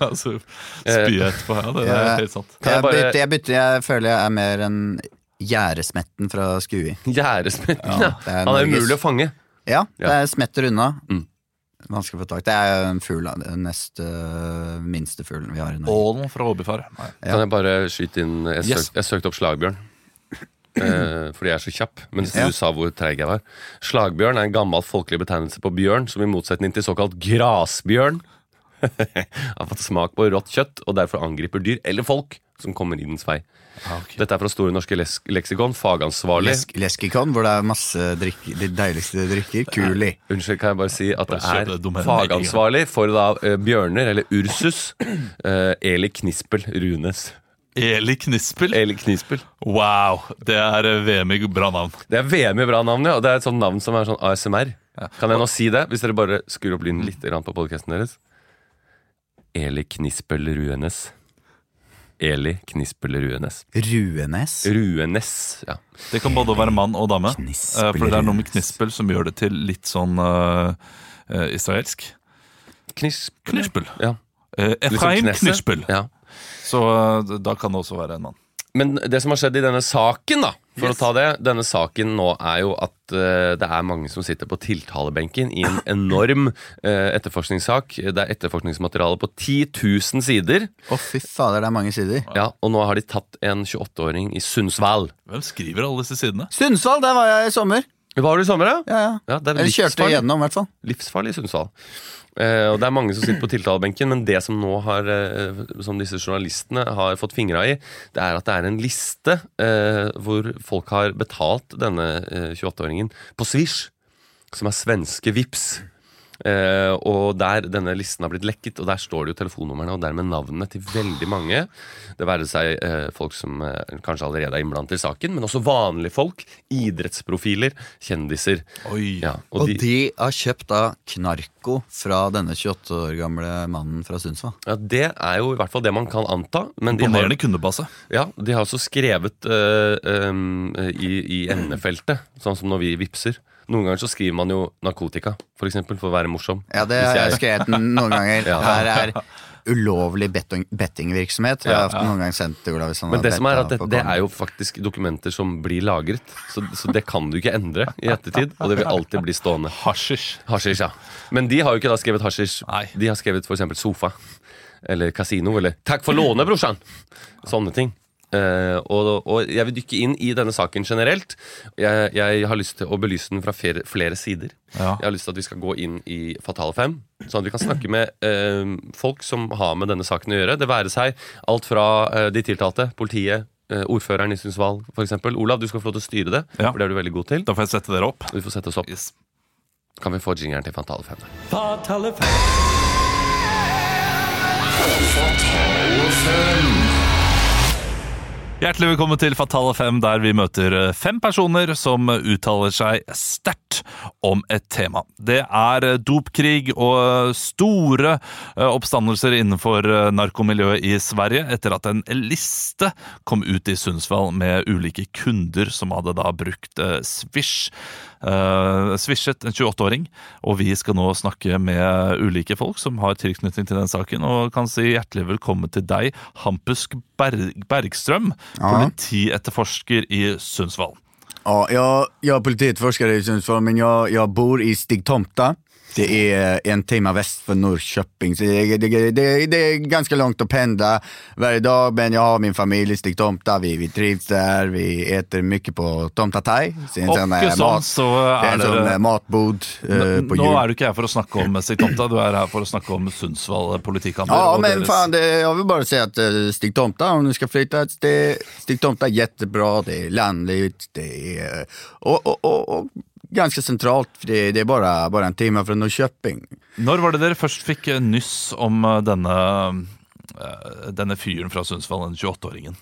S1: altså,
S3: Eh,
S1: spy etterpå. Ja, det, det
S2: Ja.
S1: er helt sant.
S3: Kan jeg
S2: Jeg
S3: bare-
S2: bytter, jeg bytter. Jeg føler jeg er mer enn gjerdesmetten fra Skui.
S3: Gjerdesmetten, ja.
S2: det er
S3: Han er
S2: Norges-
S3: umulig å fange.
S2: Ja, det
S3: Ja.
S2: er smetter unna.
S3: Mm.
S2: Vanskelig å få tak. Det er jo en fugl, da. Den nest øh, minste fuglen vi har i Norge.
S1: Ålen fra Håbyfar. Nei.
S2: Ja.
S3: Kan jeg bare skyte inn Jeg, søk,
S1: Yes.
S3: jeg søkte opp slagbjørn. Eh, fordi jeg er så kjapp, mens
S2: Ja.
S3: du sa hvor treig jeg var. Slagbjørn er en gammel folkelig betegnelse på bjørn, som i motsetning til såkalt grasbjørn har fått smak på rått kjøtt og derfor angriper dyr eller folk som kommer i dens vei.
S1: Ah,
S3: Dette er fra Store norske les leksikon, fagansvarlig.
S2: Lesk, leskikon, hvor det er masse drikker, de deiligste drikker. Kuli.
S3: Unnskyld, kan jeg bare si at det
S1: kjøp
S3: er
S1: det domenet med en gang.
S3: fagansvarlig for da eh, bjørner, eller Ursus, eh, Eli Knispel Runes.
S1: Eli Knispel.
S3: Eli Knispel.
S1: Wow, det er eh, VM i bra navn.
S3: Det er VM i bra navn, ja. Og det er et sånt navn som er sånn ASMR. Kan jeg nå si det, hvis dere bare skrur opp lyden litt grann på podkasten deres? Eli Knispel Ruenes. Eli Knispel Ruenes.
S2: Ruenes.
S3: Ruenes, ja.
S1: Det kan både være mann og dame.
S2: Knispel.
S1: eh, for det er noe med knispel som gjør det til litt sånn eh, eh, israelsk.
S3: Knispel.
S1: Knispel.
S3: Ja.
S1: Eh,
S3: Litt sånn som
S1: Efraim
S3: kneset.
S1: Knispel.
S3: Ja.
S1: Så eh, da kan det også være en mann.
S3: Men det som har skjedd i denne saken, da for å ta det, denne saken nå er jo at eh, det er mange som sitter på tiltalebenken i en enorm eh, etterforskningssak. Det er etterforskningsmateriale på 10 000 sider.
S2: Å, fy fader, det er mange sider.
S3: Ja, og nå har de tatt en 28-åring i Sundsvall.
S1: Hvem skriver alle disse sidene?
S2: Sundsvall, der var jeg i sommer.
S3: Var du i sommer, da?
S2: Ja, ja.
S3: Ja, det er
S2: Eller kjørte
S3: livsfarlig,
S2: igjennom, i hvert fall.
S3: livsfarlig i Sundsvall. Eh, og det er mange som sitter på tiltalebenken, men det som nå har, eh, som disse journalistene har fått fingra i, det er at det er en liste eh, hvor folk har betalt denne eh, 28-åringen på Swish, som er svenske VIPS. Eh, og der denne listen har blitt lekket, og der står det jo telefonnumrene og dermed navnene til veldig mange. Det være seg eh, folk som eh, kanskje allerede er innblandet i saken, men også vanlige folk. Idrettsprofiler, kjendiser.
S1: Oi.
S3: Ja,
S2: Og de, har kjøpt da knarko fra denne 28 år gamle mannen fra Sundsvall.
S3: Ja, Det er jo i hvert fall det man kan anta. Men de har,
S1: Imponerende kundebase.
S3: ja, de har også skrevet eh, em, i, i emnefeltet, sånn som når vi vipser. Noen ganger så skriver man jo narkotika, for eksempel, for å være morsom.
S2: Ja, det
S3: Hvis
S2: har jeg
S3: jeg-
S2: skrevet noen ganger.
S3: Ja.
S2: Her er ulovlig betting, bettingvirksomhet. har Jeg har noen ganger sendt til Olav hvis han
S3: Men
S2: har
S3: det som er
S2: betta
S3: at det,
S2: på
S3: det
S2: kongen.
S3: er jo faktisk dokumenter som blir lagret, så, så det kan du ikke endre i ettertid. Og det vil alltid bli stående.
S1: Hasjisj.
S3: Hasjisj, ja. Men de har jo ikke da skrevet hasjisj.
S1: Nei.
S3: De har skrevet f.eks. sofa. Eller kasino. Eller 'takk for lånet, brorsan'. Sånne ting. Eh, og, og jeg vil dykke inn i denne saken generelt. Jeg, jeg har lyst til å belyse den fra flere, flere sider.
S1: Ja.
S3: Jeg har lyst til at vi skal gå inn i Fatale fem, sånn at vi kan snakke med eh, folk som har med denne saken å gjøre. Det være seg alt fra eh, de tiltalte, politiet, eh, ordføreren i Sundsvall f.eks. Olav, du skal få lov til å styre det,
S1: Ja.
S3: for det er du veldig god til.
S1: Da får jeg sette dere opp.
S3: Du får sette oss opp.
S1: Yes.
S3: Kan vi få jingeren til Fatale fem? der?
S1: Hjertelig velkommen til Fatale fem, der vi møter eh, fem personer som eh, uttaler seg sterkt om et tema. Det er eh, dopkrig og eh, store eh, oppstandelser innenfor eh, narkomiljøet i Sverige etter at en liste kom ut i Sundsvall med ulike kunder som hadde da brukt eh, Swish. Eh, Swishet, en 28-åring. Og vi skal nå snakke med ulike folk som har tilknytning til den saken, og kan si hjertelig velkommen til deg, Hampusk Berg Bergstrøm, politietterforsker i Sundsvall.
S2: Ja, jag, jag är politietforskare i Sundsvall, men jag, jag bor i Stigtomta. Det är en timme väst för Norrköping, så det, det, det, det är ganska långt att pendla varje dag. Men jag har min familj i Stigtomta, vi, vi trivs där, vi äter mycket på Tomta Thai. Det är en sån,
S1: Åkke
S2: eh,
S1: sånn,
S2: mat-
S1: så
S2: det är
S1: er
S2: en sån eh,
S1: dere
S2: matbod eh, på
S1: Nå
S2: jul.
S1: er du ikke her for å snakke om Siktomta, du er her for å snakke om Sundsvall eh, politikammer.
S2: Ja,
S1: og
S2: men
S1: deres-
S2: fan, det, jag vill bara säga att eh, Stigtomta, om du ska flytta, det, Stigtomta är jättebra, det är landligt, det är, eh, och, och, och, och ganska centralt, för det, det är bara, bara en timme från Norrköping.
S1: Når var det dere først fikk eh, nyss om eh, denne eh, denne fyren fra Sundsvall, den 28-åringen.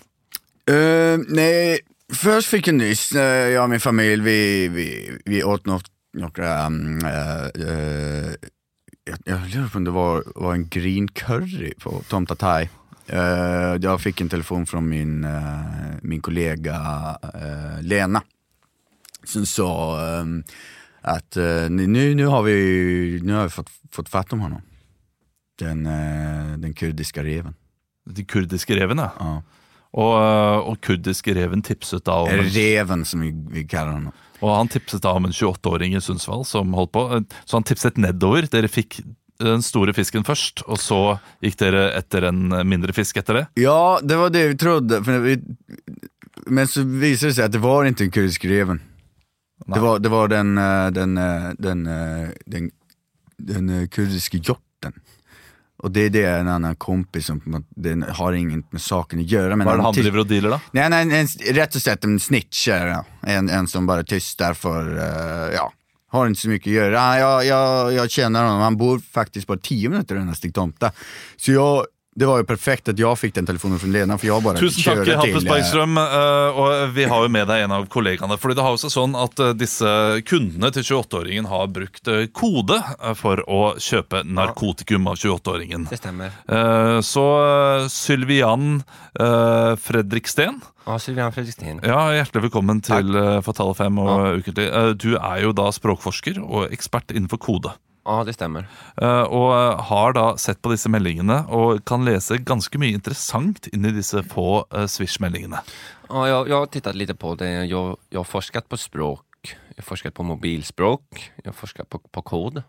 S2: Eh, nej, först fick jag nyss, eh, jag och min familj, vi, vi, vi åt något, några, mm, eh, eh, jag, jag lurar på om det var, var en green curry på Tomta Thai. Eh, jag fick en telefon från min, eh, min kollega eh, Lena som sa ehm, att eh, nu, nu har vi, nu har vi fått, fått fatt om honom. Den, eh, den kurdiska reven.
S1: Den kurdiske reven, ja.
S2: Ja.
S1: Og, eh, og kurdiske reven tipset da om
S2: Eller reven som vi, vi kallar honom.
S1: Og han tipset da om en 28-åring i Sundsvall som holdt på. Eh, Så han tipset nedover. Dere fikk den store fisken først, og så gikk dere etter en mindre fisk etter det.
S2: Ja, det var det vi trodde. För vi, men så visade det sig att det var inte en kurdisk reven. Det var, det var den, eh, den, eh, den, eh, den, den eh, kurdiske hjorten. Och det, det är en annan kompis som på något- den har inget med saken att göra. Men
S1: Hva er det han
S2: tyst-
S1: driver og dealer, da?
S2: Nej, nej, en, rätt och slätt en snitcher. ja. En, en som bara tystar för, eh, ja, har inte så mycket att göra. Han- Jag, jag, jag känner honom, han bor faktiskt bara 10 minuter från den här Stig Tomta. Så jag, det var ju perfekt att jag fick den telefonen från Lena, för jag bara
S1: Tusen takk,
S2: körde
S1: Hampus
S2: till. eh,
S1: Bergstrøm. eh, Og vi har jo med deg en av kollegaene. Fordi det har jo seg sånn at eh, disse kundene til 28-åringen har brukt eh, kode eh, for å kjøpe narkotikum av 28-åringen.
S3: Det stemmer.
S1: Eh, Så eh, Sylvian eh, Fredriksten
S3: Ah, Sylvian Fredriksten.
S1: Ja, Hjertelig velkommen til eh, Fatale 5 og Ukentlig. Eh, Du er jo da språkforsker og ekspert innenfor kode.
S3: Ah, det stemmer.
S1: eh, Og eh, har da sett på disse meldingene og kan lese ganske mye interessant inn i disse få eh, Swish-meldingene.
S3: Ja, jag, jag har tittat lite på det. Jag, jag har forskat på språk. Jag har forskat på mobilspråk. Jag har forskat på, på kod.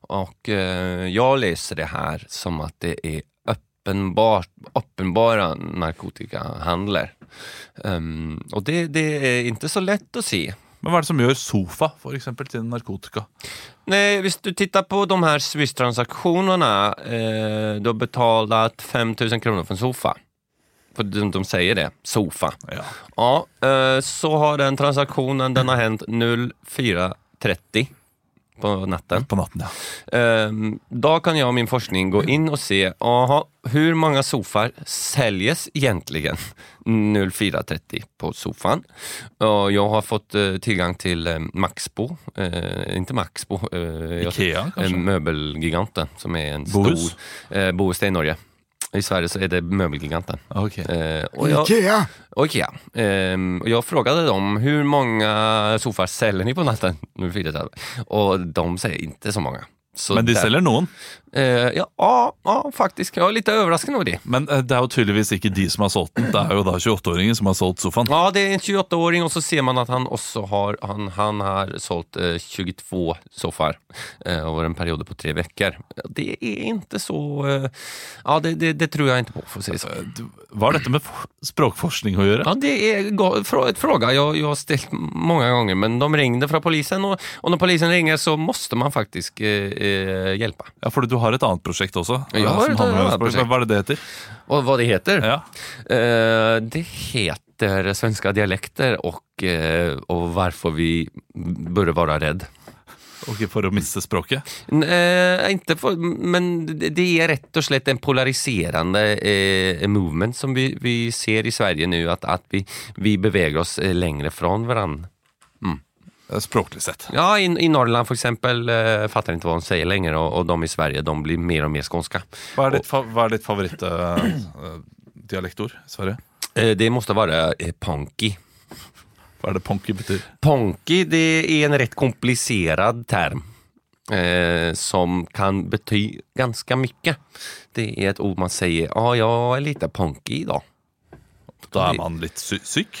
S3: Och eh, jag läser det här som att det är uppenbart, uppenbara narkotikahandlar. Ehm, och det, det är inte så lätt att se.
S1: Men hva er det som gjør sofa for eksempel, til narkotika?
S3: Nej, om du tittar på de här Swish-transaktionerna. Eh, du har betalat 5 000 kronor för en sofa. För de, de säger det, sofa.
S1: Ja.
S3: Ja, eh, så har den transaktionen, den har hänt 04.30 på natten.
S1: På natten, ja.
S3: Ehm, Då kan jag och min forskning gå in och se, aha, hur många sofar säljes egentligen 04.30 på sofan? Och jag har fått eh, tillgång till eh, Maxbo, eh, inte Maxbo, eh, jag-
S1: Ikea, kanskje?
S3: eh, möbelgiganten som är en
S1: Bohus?
S3: stor, eh, Bohus det är i Norge. I Sverige så är det möbelgiganten.
S1: Ok.
S3: Eh, och jag-
S2: Ikea!
S3: och ja, ehm, och jag frågade dem hur många sofar säljer ni på natten? Nu fick jag det här. Och de säger inte så många. Så
S1: Men de
S3: det-
S1: selger noen.
S3: Eh, ja, ah, ah, faktisk. Jeg var litt overrasket over de.
S1: Men eh, det er jo tydeligvis ikke de som har solgt den. Det er jo da 28-åringen som har solgt sofaen.
S3: Ja, det er en 28-åring, og så ser man at han også har Han, han har solgt eh, 22 sofaer eh, over en periode på tre uker. Det er ikke så eh, Ja, det, det, det tror jeg ikke på, for å si det sånn.
S1: Eh, Hva har dette med f- språkforskning å gjøre?
S3: Ja, det är go- fra- ett fråga jag, jag har ställt många gånger, men de ringde från polisen och, och när polisen ringer så måste man faktiskt eh, eh, hjälpa.
S1: Ja, fordi du har et annet prosjekt også.
S3: Jeg har
S1: som
S3: et
S1: handler om
S3: annet
S1: språk.
S3: prosjekt.
S1: Hva er det det heter?
S3: Och vad det heter?
S1: Ja.
S3: Eh, det heter svenska dialekter och, eh, och varför vi bör vara rädd.
S1: Ok, For å miste språket?
S3: Eh, inte för, men det är rätt och slett en polariserande eh, movement som vi, vi ser i Sverige nu, att, att vi, vi beväger oss eh, längre från varandra.
S1: Eh, Språklig sett.
S3: Ja, i, i Norrland for eksempel eh, fattar inte vad de säger längre och, och de i Sverige de blir mer och mer skånska.
S1: Hva er ditt, fa hva er ditt favoritt eh, eh, dialektord, Sverre?
S3: Eh, det måste vara eh, ponky.
S1: Hva er det ponky betyr?
S3: Ponky det är en rätt komplicerad term eh, som kan bety ganska mycket. Det är ett ord man säger, ja ah, jag är lite ponky idag.
S1: Da er man litt sy syk?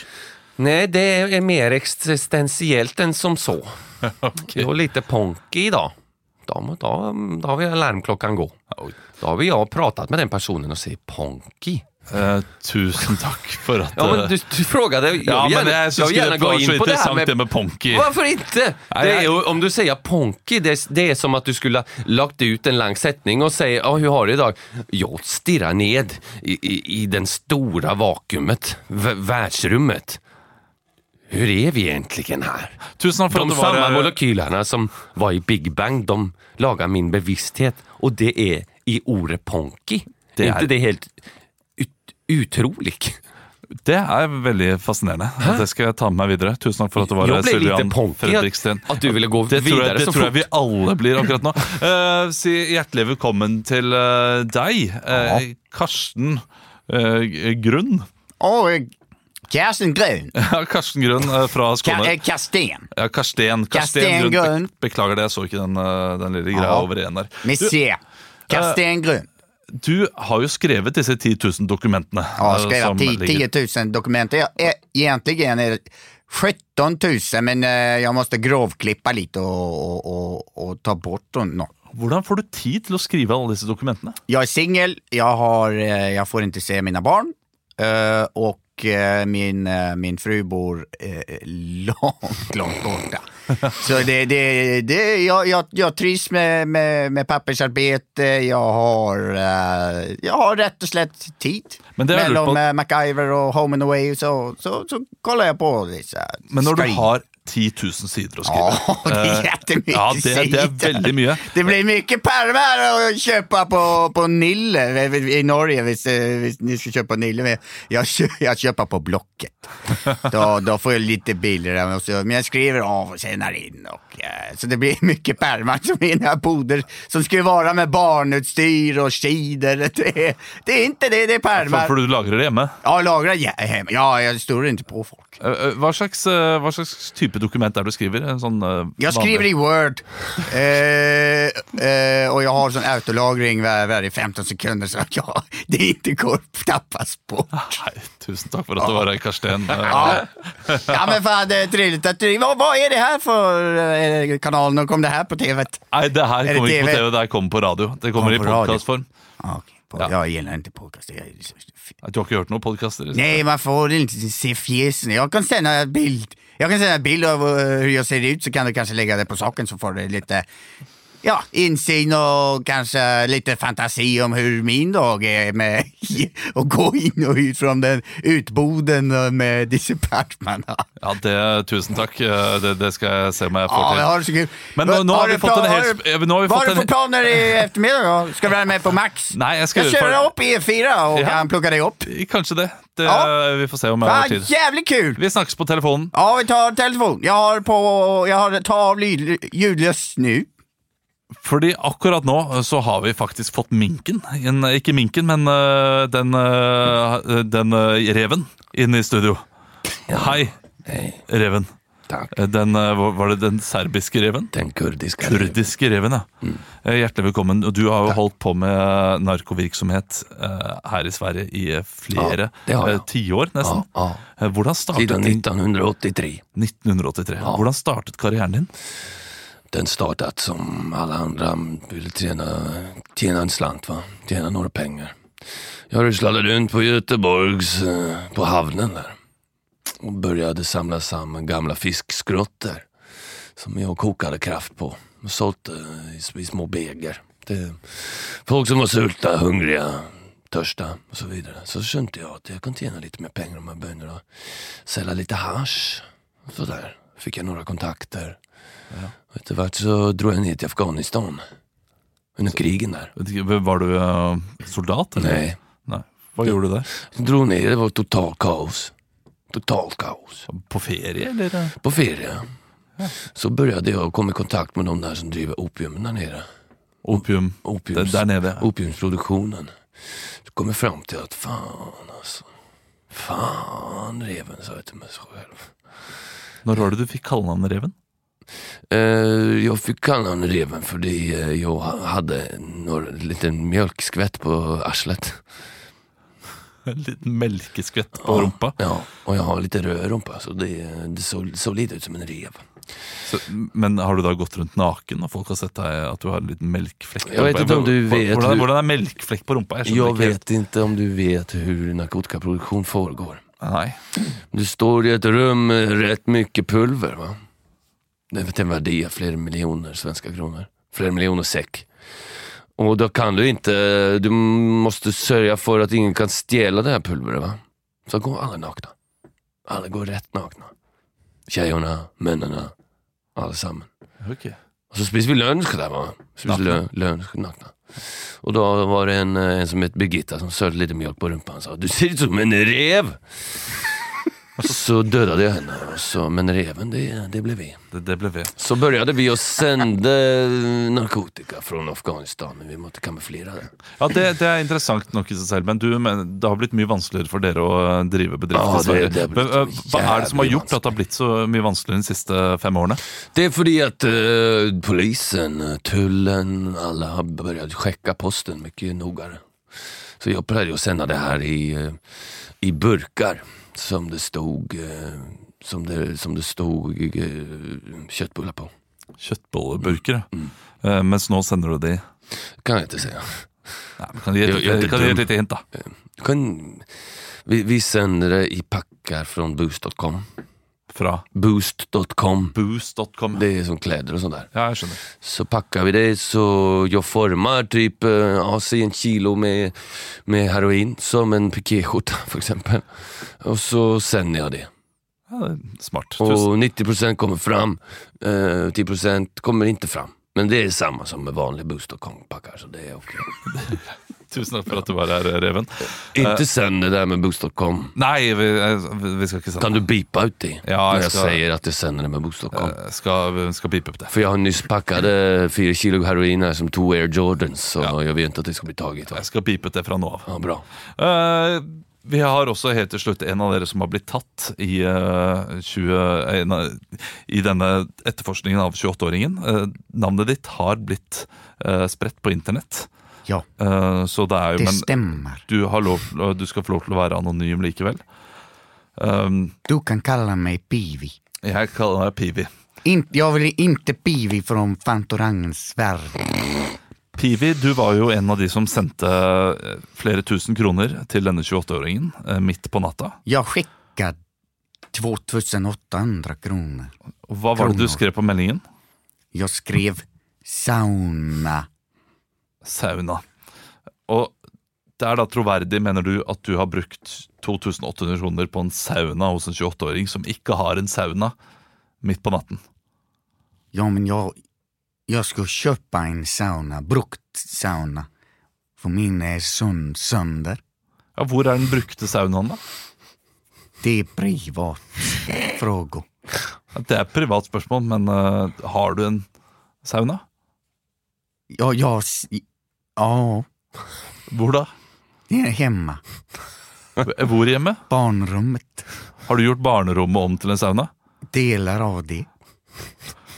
S3: Nej, det är mer existentiellt än som så. Jag är lite ponky idag. Då, då, då har vi larmklockan gå. Då har vi jag pratat med den personen och säger ponky.
S1: Eh, tusen takk for at
S3: Ja, men
S1: eh,
S3: du, du frågade. Jag vill
S1: ja, men
S3: gärna,
S1: jeg
S3: jag
S1: syns
S3: vill
S1: ikke
S3: gärna
S1: det
S3: gå
S1: var så
S3: in på det här
S1: interessant,
S3: med...
S1: det med ponky.
S3: Varför inte? det är ju, om du säger ponky, det, är- det är som att du skulle ha lagt ut en lång sättning och säger ja, hur har du idag? Jag stirrar ned i, i, i den stora vakuumet, v- världsrummet. Hur är vi egentligen här?
S1: Tusen takk for
S3: De
S1: at du var eh,
S3: samma
S1: her.
S3: molekylerna som var i Big Bang, de lagar min bevissthet och det är i ordet ponky. Det är
S1: är-
S3: inte det helt ut, utroligt?
S1: Det er veldig fascinerende. Det skal jeg ta med meg videre. Tusen takk for at du var
S3: Jeg
S1: her,
S3: ble litt
S1: Sylvian
S3: punky at,
S1: Fredriksten.
S3: at du ville gå
S1: Det tror
S3: videre
S1: jeg, det
S3: så
S1: tror jeg
S3: fort.
S1: vi alle blir akkurat nå. Eh, si hjertelig velkommen til eh, deg, eh, Karsten eh, Grunn.
S2: Og Karsten Grøn.
S1: Ja, Karsten Grunn eh, fra
S2: Ka-
S1: Skåne.
S2: eh, Karsten.
S1: Ja, Karsten,
S2: Karsten
S1: Karsten Grunn.
S2: Grunn.
S1: Be- Beklager det, jeg så ikke den, eh, den lille greia
S2: Ja.
S1: over igjen der.
S2: Vi
S1: Du,
S2: ser. Karsten Grøn.
S1: du har jo skrevet disse 10 000 dokumentene.
S2: Ja,
S1: eh,
S2: skriva
S1: som
S2: 10,
S1: ligger-
S2: 10 000 dokument. Jag, eh, egentligen är det 17 000 men eh, jag måste grovklippa lite och, och, och, och ta bort och- något.
S1: Hvordan får du tid til å skrive alle disse dokumentene?
S2: Jag är singel, jag, har, eh, jag får inte se mina barn eh, och eh, min, eh, min fru bor eh, långt, långt borta. Så det, det, det, jag, jag, jag trivs med, med, med pappersarbete, jag har, eh, jag har rätt och slätt tid.
S1: Men det har jag
S2: Mellan
S1: lurat på.
S2: eh, MacGyver och Home and Away så, så, så kollar jag på dessa.
S1: Men når du
S2: screen.
S1: har 10 000 sider å skrive Eh,
S2: Ja, det är jättemycket
S1: Ja, det, det er
S2: sidor.
S1: veldig mye.
S2: Det blir mycket pärmar att köpa på, på Nille eh, i Norge. Hvis, eh, hvis ni ska köpa Nille. Men jag, kö, jag köper på Blocket. Då, då får jag lite billigare. Men så- Men jag skriver av och tjänar in. Och, eh, så det blir mycket pärmar som är i den här boder som ska vara med barnutstyr och skidor. Det, är- det är inte det, det är
S1: For,
S2: pärmar.
S1: for du lagrer det hjemme.
S2: Ja, lagra ja, hemma. Ja, jag står inte på folk.
S1: Eh, eh, Hva slags, eh, hva slags type dokument er det du skriver? En sånn eh,
S2: Jag skriver i Word eh, eh, och jag har sån autolagring var, varje 15 sekunder så att jag, det inte går tappas på.
S1: Nei, tusen takk for at du var her, Karsten. Eh,
S2: Ja. ja men fan det är trevligt att du, vad, vad är det här för eh, kanal? När kom det här på TV?
S1: Nei, det her
S2: det
S1: kommer ikke på
S2: TV?
S1: TV, det her kommer på radio. Det kommer
S2: Kommer
S1: i
S2: på radio.
S1: podkastform.
S2: Ah, okej. På-
S1: Ja.
S2: Jag gillar inte podcast. Jag,
S1: Du har ikke hørt noen podkaster? liksom?
S2: nej man får inte se fjäsen. Jag kan sända en bild. Jag kan sända en bild av eh, hur jag ser ut så kan du kanske lägga det på saken så får du lite Ja, insyn och kanske lite fantasi om hur min dag är med att gå in og ut från den utboden med disse pärmarna.
S1: Ja, det, tusen takk. Eh, Det, det skal jeg se om jeg får
S2: Ah, Ja, vi
S1: til.
S2: har det så kul.
S1: Men nå- nå har vi
S2: du
S1: fått en
S2: plan-
S1: hel-
S2: har du-
S1: eh, nå har vi
S2: Vad
S1: fått
S2: har du
S1: en-
S2: för planer i eftermiddag då? Ska du vara med på Max?
S1: Nei, jeg skal
S2: Jag kör
S1: utfordre-
S2: upp E4 och
S1: Ja.
S2: kan plugga dig upp.
S1: Kanskje det. det
S2: Ja.
S1: Vi får se om jeg
S2: Fan,
S1: har tid.
S2: jävligt kul!
S1: Vi snakkes på telefonen.
S2: Ja, vi tar telefon. Jag har på... Jag har ta av lyd- ljudlöst nu.
S1: Fordi akkurat nå eh, så har vi faktisk fått minken. En, ikke minken, men eh, den, eh, den eh, reven inn i studio. Hei, reven.
S6: Takk.
S1: Eh, Den, eh, hva- var det den serbiske reven?
S6: Den Mm. kurdiske
S1: Kurdiske reven, ja. Eh, Hjertelig velkommen. Og Du har jo holdt på med eh, narkovirksomhet eh, her i Sverige i eh, flere
S6: Ja, det har jeg.
S1: eh, tiår, nesten.
S6: Ja,
S1: Eh, Hvordan startet
S6: Siden
S1: din
S6: 1983.
S1: 1983? Hvordan startet karrieren din?
S6: Den startet som alle andre ville tjene, tjene en slant, va? tjene noen penger. Jeg ruslet rundt på Göteborgs, eh, på havnen der, og begynte å samle sammen gamle fiskskrotter som jeg kokte kraft på, og solgte i, s- i små beger til folk som var sultne, hungrige, tørste og så videre. Så skjønte jeg at jeg kunne tjene litt mer penger om jeg begynte å selge litt hasj. Så der fikk jeg noen kontakter. Og etter hvert så dro jeg ned til Afghanistan under krigen der.
S1: Vet ikke, Var du eh, soldat? eller?
S6: Nei.
S1: Nei. Hva gjorde du der?
S6: Så dro ned, det var total kaos. Total kaos.
S1: På ferie, eller? eh?
S6: På ferie. Så begynte jeg å komme i kontakt med de der som driver opium der nede.
S1: Opium. Der,
S6: Opiums,
S1: der nede. ja.
S6: opiumsproduksjonen. Så kom jeg fram til at faen, altså. Faen, reven, sa jeg til meg selv.
S1: Når var det du fikk kallenavnet Reven?
S6: Eh, jeg fikk kalle han Reven fordi eh, jeg ha- hadde en liten mjølkskvett på arslet.
S1: En liten melkeskvett på rumpa.
S6: Ja, og jeg har litt rød rumpa, så det, det så, så litt ut som en rev.
S1: Så, men har du da gått rundt naken, og folk har sett deg at du har en liten melkflekk? på
S6: Jeg vet
S1: rumpa?
S6: ikke om du
S1: Hva-
S6: vet-
S1: Hvordan, hvordan er melkflekk på rumpa? skjønner
S6: Jeg
S1: ikke helt.
S6: vet ikke om du vet hur narkotikaproduksjon foregår.
S1: Nei.
S6: Du står i et rum med rett mye pulver, va? Det er til en verdi av flere millioner svenske kroner. Flere millioner sekk. Og da kan du ikke Du må sørge for at ingen kan stjele det her pulveret, va? Så går alle nakne. Alle går rett nakne. Jentene, mennene, alle sammen.
S1: Ok.
S6: Og så spiser vi lunsj der, va? Spiser
S1: Nakna.
S6: lø- lunsj nakna. Og da var det en, eh, en som het Birgitta, som sølte litt mjølk på rumpa. Han sa 'du ser ut som en rev'! Og så døde jeg henne, og så, men reven, det, det ble vi.
S1: Det, det ble ved.
S6: Så begynte vi å sende narkotika fra Afghanistan, men vi måtte kamuflere det.
S1: Ja, det, det er interessant nok i seg selv, men du, men det har blitt mye vanskeligere for dere å eh, drive bedrift
S6: Ja,
S1: i Sverige.
S6: Ah, det- det har
S1: Men,
S6: blitt
S1: eh, Hva er det som har
S6: jævlig
S1: gjort at det har blitt så mye vanskeligere de siste fem årene?
S6: Det er fordi at eh, polisen, tullen, alle har börjat sjekke posten mye noggrannere. Så jeg pleide å sende det her i, eh, i burkar som det stod, eh, som det, som det stod eh, kjøttbullar på.
S1: Kjøttbolleburkere. Eh, Mens nå sender du de
S6: Kan jeg ikke si.
S1: Nei, men Kan du gi et,
S6: Jeg- jeg er
S1: kan du gi et
S6: dum.
S1: lite hint, da?
S6: Kan, vi, vi sender det i pakker fra boost.com.
S1: Fra
S6: Boost.com.
S1: boost.com.
S6: Det er sånn klær og sånn der.
S1: Ja, jeg skjønner.
S6: Så packar vi det, så jag formar typ, eh, ja, säg en kilo med, med heroin, som en pikéskjorta för exempel. Och så sänder jag det.
S1: Ja, det er smart. Tusen.
S6: Och 90% kommer fram, eh, 10% kommer inte fram. Men det är samma som med vanlig boost och kompackar, så det är okej.
S1: Tusen takk for at du var her, Reven. Eh.
S6: Inte sänd det där med boost.com.
S1: Nei, vi, eh, vi skal ikke sende
S6: Kan du bipa ut det?
S1: Ja,
S6: När
S1: jag
S6: jag
S1: ska-
S6: säger att jag sänder det med boost.com.
S1: Eh, Skal, skal pipe opp det.
S6: För jag har nyss packat eh, fyra kilo heroin här som två Air Jordans, så jag vet inte att det ska bli taget. va?
S1: Jeg skal pipe ut det fra nå av.
S6: Ja, bra.
S1: Eh, vi har også helt til slutt en av dere som har blitt tatt i, eh, 20, en av- i denne etterforskningen av 28-åringen. Eh, navnet ditt har blitt eh, spredt på internett.
S10: Ja,
S1: Eh, så det er jo,
S10: det
S1: men
S10: stemmer.
S1: du, har lov, du skal få lov til å være anonym likevel. Um,
S10: Du kan kalle meg Pivi.
S1: jeg kaller deg Pivi.
S10: In, jag vill inte Pivi från Fantorangens värld.
S1: Pivi, du var jo en av de som sendte eh, flere tusen kroner til denne 28-åringen eh, midt på natta.
S10: Jag skickade 2800 kronor.
S1: Og Hva var det du
S10: Kroner.
S1: skrev på meldingen?
S10: Jag skrev sauna.
S1: sauna. Og det er da troverdig, mener du, at du har brukt 2800 kroner på en sauna hos en 28-åring som ikke har en sauna midt på natten?
S10: Ja, men jag, jag ska köpa en sauna, brukt sauna. För min är sund, sönder.
S1: Ja, Hvor er den brukte saunaen, da?
S10: Det är privat fråga.
S1: Ja, Det er et privat spørsmål, men eh, har du en sauna?
S10: Ja, jag... s- Ja,
S1: Hvor da? Eh,
S10: det är hemma.
S1: Hvor hjemme?
S10: Barnrummet.
S1: Har du gjort barnerommet om til en sauna?
S2: Deler av de.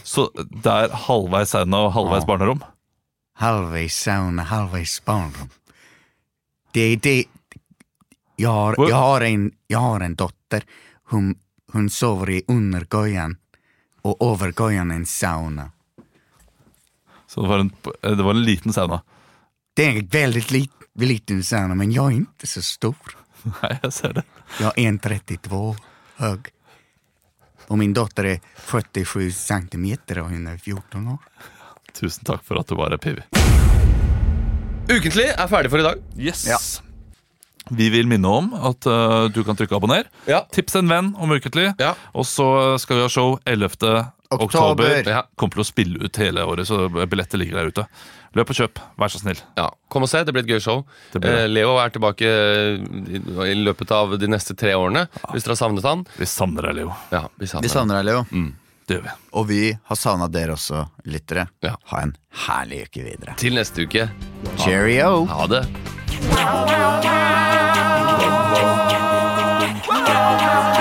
S1: Så eh, det er halvveis sauna og halvveis barnerom?
S2: Halvveis sauna, halvveis barndom. Det, det jeg har,
S1: Hvor-
S2: jeg har, en, jeg har en dotter. Hun, hun sover i undergøyen, og overgøyen er en sauna.
S1: Så det var en, det var en liten sauna.
S2: Det er en veldig lit, liten sauna, men jeg er ikke så stor.
S1: Nei, jeg ser det.
S2: Jag är 1,32 hög. Och min dotter är 47 centimeter och hon är 14 år.
S1: Tusen takk for at du var her, Pivi.
S3: Ukentlig er ferdig for i dag.
S1: Yes. Vi vil minne om at eh, du kan trykke abonner.
S3: Ja.
S1: Tips en venn om Ukentlig.
S3: Ja.
S1: Og så skal vi ha show 11. oktober.
S2: Oktober.
S1: Ja. Kommer til å spille ut hele året, så billetter ligger der ute. Løp og kjøp, vær så snill.
S3: Ja, Kom og se, det blir et gøy show.
S1: Det blir det.
S3: Eh, Leo er tilbake eh, i løpet av de neste tre årene, hvis dere har savnet han.
S1: Vi savner deg, Leo.
S3: Ja, vi savner
S11: Vi savner deg, Leo.
S1: Det gjør vi.
S11: Og vi har savna dere også, lyttere.
S3: Ja.
S11: Ha en herlig uke videre.
S3: han. Til neste uke.
S11: Cheerio!
S3: Ha det.
S12: Wow.